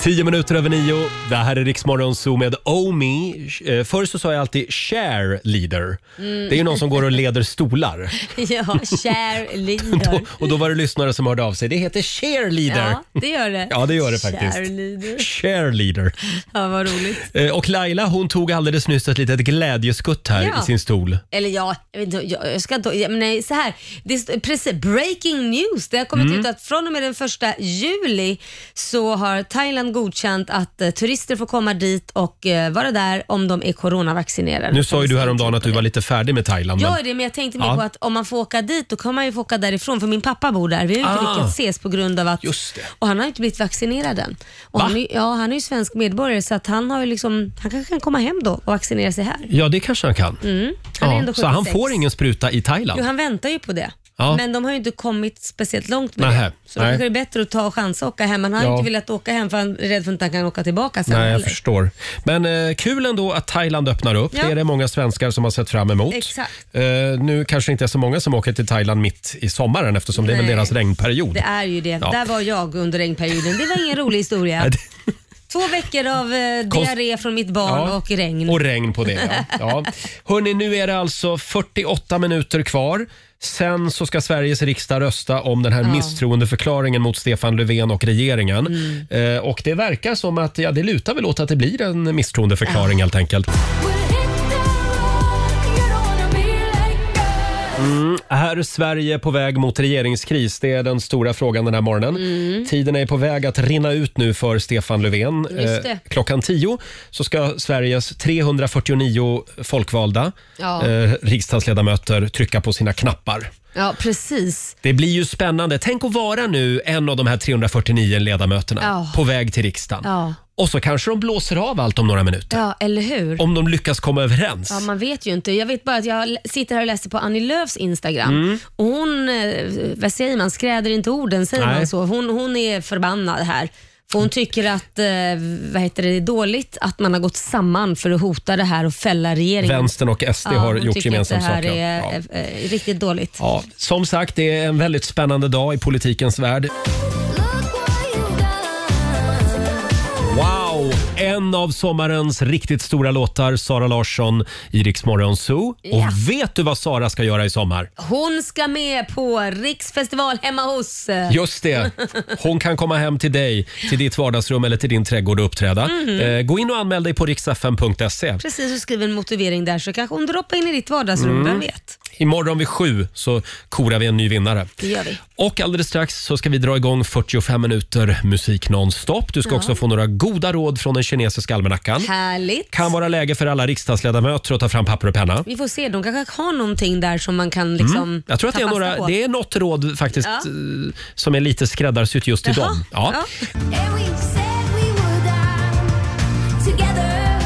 A: Tio minuter över nio. Det här är Riksmorgon Zoo med Omi. Eh, Förr så sa jag alltid share leader.
B: Mm.
A: Det är ju någon som går och leder stolar.
B: ja, share leader.
A: Och då var det lyssnare som hörde av sig. Det heter cheerleader.
B: Ja, det gör det.
A: Ja, det gör det faktiskt.
B: Share leader.
A: Cheerleader.
B: Ja, vad roligt.
A: Eh, Och Laila hon tog alldeles nyss ett litet glädjeskutt här
B: Ja.
A: i sin stol.
B: Eller ja, jag, vet inte, jag, jag ska inte... ja, Men nej, så här. Det står, precis, breaking news. Det har kommit
A: Mm.
B: ut att från och med den första juli så har Thailand godkänt att eh, turister får komma dit och eh, vara där om de är coronavaccinerade.
A: Nu sa ju du häromdagen att du var lite färdig med Thailand.
B: Jag
A: men-
B: är typ, det, men jag tänkte mer
A: Ja.
B: på att om man får åka dit då kan man ju få åka därifrån för min pappa bor där. Vi har ju inte
A: Ah.
B: lyckats ses på grund av att... Och han har ju inte blivit vaccinerad än. Och han, är, ju- ja, han är ju svensk medborgare så att han har ju liksom... Han kanske kan komma hem då och vaccinera sig här.
A: Ja, det kanske han kan.
B: Mm. Han är
A: Ja,
B: ändå
A: så han
B: 76.
A: får ingen spruta i Thailand?
B: Jo, han väntar ju på det.
A: Ja.
B: Men de har ju inte kommit speciellt långt med
A: Nähä,
B: det. Så
A: nej.
B: då kanske det är bättre att ta och chansa och åka hem. Men han har
A: Ja.
B: inte velat åka hem för han är rädd för att han kan åka tillbaka sen.
A: Nej, jag
B: heller.
A: förstår. Men eh, kul ändå att Thailand öppnar upp.
B: Ja.
A: Det är det många svenskar som har sett fram emot.
B: Exakt.
A: Eh, nu kanske inte är så många som åker till Thailand mitt i sommaren eftersom det är
B: Nej.
A: väl deras regnperiod.
B: Det är ju det.
A: Ja.
B: Där var jag under regnperioden. Det var ingen rolig historia. Två veckor av eh,
A: Konst-
B: diarré från mitt barn
A: Ja.
B: och regn.
A: Och regn på det, ja. ja. Hörrni, nu är det alltså 48 minuter kvar. Sen så ska Sveriges riksdag rösta om den här misstroendeförklaringen mot Stefan Löfven och regeringen.
B: Mm.
A: Eh, och det verkar som att, ja, det lutar väl åt att det blir en misstroendeförklaring helt enkelt. Mm, Är Sverige på väg mot regeringskris? Det är den stora frågan den här morgonen.
B: Mm.
A: Tiden är på väg att rinna ut nu för Stefan Löfven. Eh,
B: Just det.
A: klockan 10 så ska Sveriges 349 folkvalda
B: Ja.
A: eh, riksdagsledamöter trycka på sina knappar.
B: Ja, precis.
A: Det blir ju spännande. Tänk att vara nu en av de här 349 ledamöterna
B: Ja.
A: på väg till riksdagen.
B: Ja,
A: Och så kanske de blåser av allt om några minuter.
B: ja eller hur?
A: Om de lyckas komma överens.
B: Ja, man vet ju inte. Jag vet bara att jag l- sitter här och läser på Annie Lööfs Instagram.
A: Mm.
B: Och hon, eh, vad säger man, skräder inte orden, säger
A: Nej.
B: man så? Hon, hon är förbannad här. För hon tycker att eh, vad heter det, det är dåligt att man har gått samman för att hota det här och fälla regeringen.
A: Vänstern och SD har
B: hon
A: gjort
B: tycker
A: gemensam
B: att det här
A: sak, ja.
B: är
A: Ja.
B: eh, eh, riktigt dåligt.
A: Ja, som sagt, det är en väldigt spännande dag i politikens värld. Wow! En av sommarens riktigt stora låtar, Sara Larsson i Rix Morgon Zoo.
B: Ja.
A: Och vet du vad Sara ska göra i sommar?
B: Hon ska med på riksfestival hemma hos. eh,
A: Just det. Hon kan komma hem till dig, till ditt vardagsrum eller till din trädgård och uppträda.
B: Mhm.
A: Eh, gå in och anmäl dig på riksfm.se.
B: Precis, och skriver en motivering där så kanske hon droppar in i ditt vardagsrum,
A: Mm.
B: vem vet?
A: Imorgon vid sju så korar vi en ny vinnare.
B: Det gör vi.
A: Och alldeles strax så ska vi dra igång 45 minuter musik nonstop. Du ska
B: Ja.
A: också få några goda råd från den kinesiska almanackan.
B: Härligt.
A: Kan vara läge för alla riksdagsledamöter att ta fram papper och penna.
B: Vi får se, de kanske har någonting där som man kan Mm, liksom
A: Mm. Jag tror att
B: ta
A: det är,
B: fasta
A: några,
B: på.
A: det är något råd faktiskt
B: Ja.
A: eh, som är lite skräddarsytt just till
B: Jaha.
A: dem. Ja.
B: Ja.
F: Together,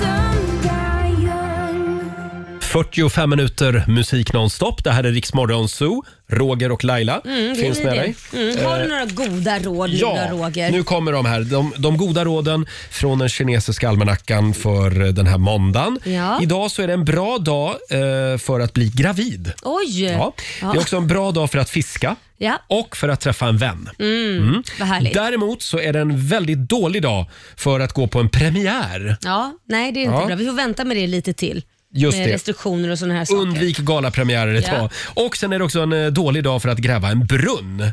F: someday young.
A: 45 minuter musik nonstop. Det här är Riksmorgon Zoo. Roger och Laila
B: Mm, det är
A: finns
B: vi
A: med
B: det.
A: dig.
B: Mm. Har du
A: Eh,
B: några goda råd nu
A: Ja,
B: då, Roger?
A: nu kommer de här. De, de goda råden från den kinesiska almanackan för eh, den här måndagen.
B: Ja.
A: Idag så är det en bra dag eh, för att bli gravid.
B: Oj!
A: Ja. Det är också en bra dag för att fiska
B: Ja.
A: och för att träffa en vän.
B: Mm.
A: Mm.
B: Vad härligt.
A: Däremot så är det en väldigt dålig dag för att gå på en premiär.
B: Ja, nej det är inte
A: Ja.
B: bra. Vi får vänta med det lite till.
A: Just
B: med
A: det.
B: restriktioner och sådana här saker.
A: Undvik galapremiärer ett
B: Ja.
A: tag. Och sen är det också en eh, dålig dag för att gräva en brunn.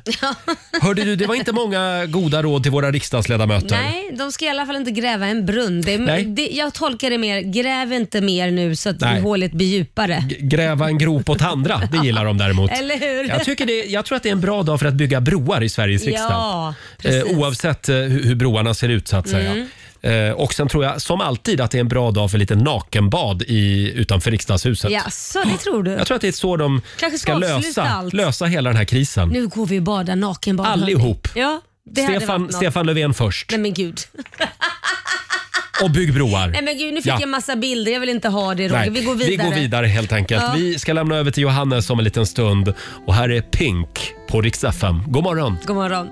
A: Hörde du, det var inte många goda råd till våra riksdagsledamöter.
B: Nej, de ska i alla fall inte gräva en brunn. Det,
A: Nej.
B: det, jag tolkar det mer, gräv inte mer nu så att
A: Nej.
B: hålet blir djupare.
A: Gräva en grop åt andra, det gillar de däremot.
B: Eller hur?
A: Jag, tycker det, jag tror att det är en bra dag för att bygga broar i Sveriges riksdag.
B: Ja,
A: Eh,
B: precis.
A: oavsett eh, hur, hur broarna ser ut så att säga.
B: Mm.
A: Eh, och sen tror jag som alltid att det är en bra dag för lite nakenbad i, utanför riksdagshuset.
B: Ja, så det tror du?
A: Jag tror att det är så de
B: Kanske ska
A: ska
B: avsluta
A: lösa,
B: allt.
A: lösa hela den här krisen.
B: Nu går vi och badar nakenbad. hörni.
A: Allihop.
B: Ja, det hade varit
A: Stefan,
B: något.
A: Stefan Löfven först
B: Nej men gud.
A: och bygg broar.
B: Nej men gud, nu fick
A: Ja.
B: jag massa bilder. Jag vill inte ha det Roger.
A: Nej,
B: Vi går vidare.
A: vi går vidare helt enkelt.
B: Ja.
A: Vi ska lämna över till Johannes om en liten stund. Och här är Pink på Rix FM. God morgon!
B: God morgon.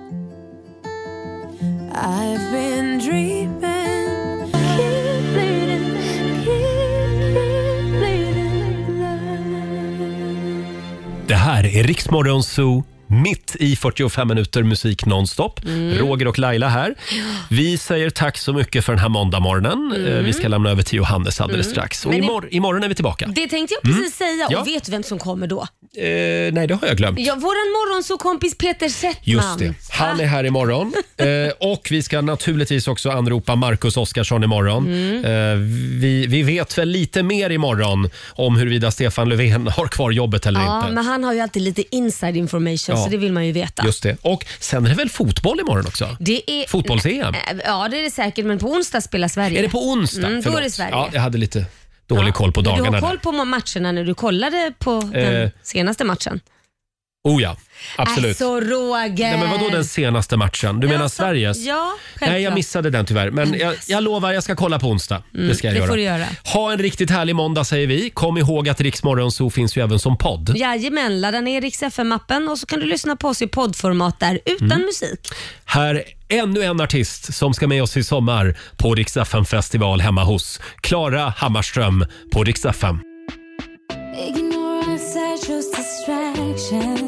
I: I've been dreaming.
A: Det här är Riksmorgon Zoo. Mitt i 45 minuter musik nonstop.
I: Mm.
A: Roger och Laila här. Vi säger tack så mycket för den här måndagmorgonen.
B: Mm.
A: Eh, Vi ska lämna över till Johannes alldeles
B: Mm.
A: strax. Och
B: Men i-
A: imor- imorgon är vi tillbaka.
B: Det tänkte jag
A: Mm.
B: precis säga. Och
A: Ja.
B: vet du vem som kommer då?
A: Eh, nej, det har jag glömt.
B: Ja, våran morgonsåkompis Peter Settman.
A: Just det. Han är här imorgon. Eh, och vi ska naturligtvis också anropa Marcus Oskarsson imorgon.
B: Mm.
A: Eh, vi, vi vet väl lite mer imorgon om huruvida Stefan Löfven har kvar jobbet eller
B: Ja,
A: inte.
B: men han har ju alltid lite inside information
A: Ja.
B: så det vill man ju veta.
A: Just det. Och sen är det väl fotboll imorgon också?
B: Det är...
A: Fotbolls-EM?
B: Eh, Ja, det är det säkert, men på onsdag spelar Sverige.
A: Är det på onsdag?
B: Mm, då
A: Förlåt.
B: är det Sverige.
A: Ja, jag hade lite dålig koll på
B: Men du
A: dagarna
B: har
A: där.
B: koll på matcherna när du kollade på
A: Eh.
B: den senaste matchen?
A: Oh ja, absolut.
B: Alltså Roger!
A: Nej, men vadå den senaste matchen? Du menar Sveriges?
B: Ja, självklart.
A: Nej, jag missade den tyvärr. Men jag, jag lovar, jag ska kolla på onsdag.
B: Mm,
A: det ska jag
B: det
A: göra.
B: får du göra.
A: Ha en riktigt härlig måndag säger vi. Kom ihåg att Rix Morgonzoo finns ju även som podd.
B: Jajamän, ladda ner Rix FM-appen och så kan du lyssna på oss i poddformat där utan
A: Mm.
B: musik.
A: Här ännu en artist som ska med oss i sommar på Rix FM festival hemma hos Klara Hammarström på Rix FM.
I: Ignorance, I chose distractions.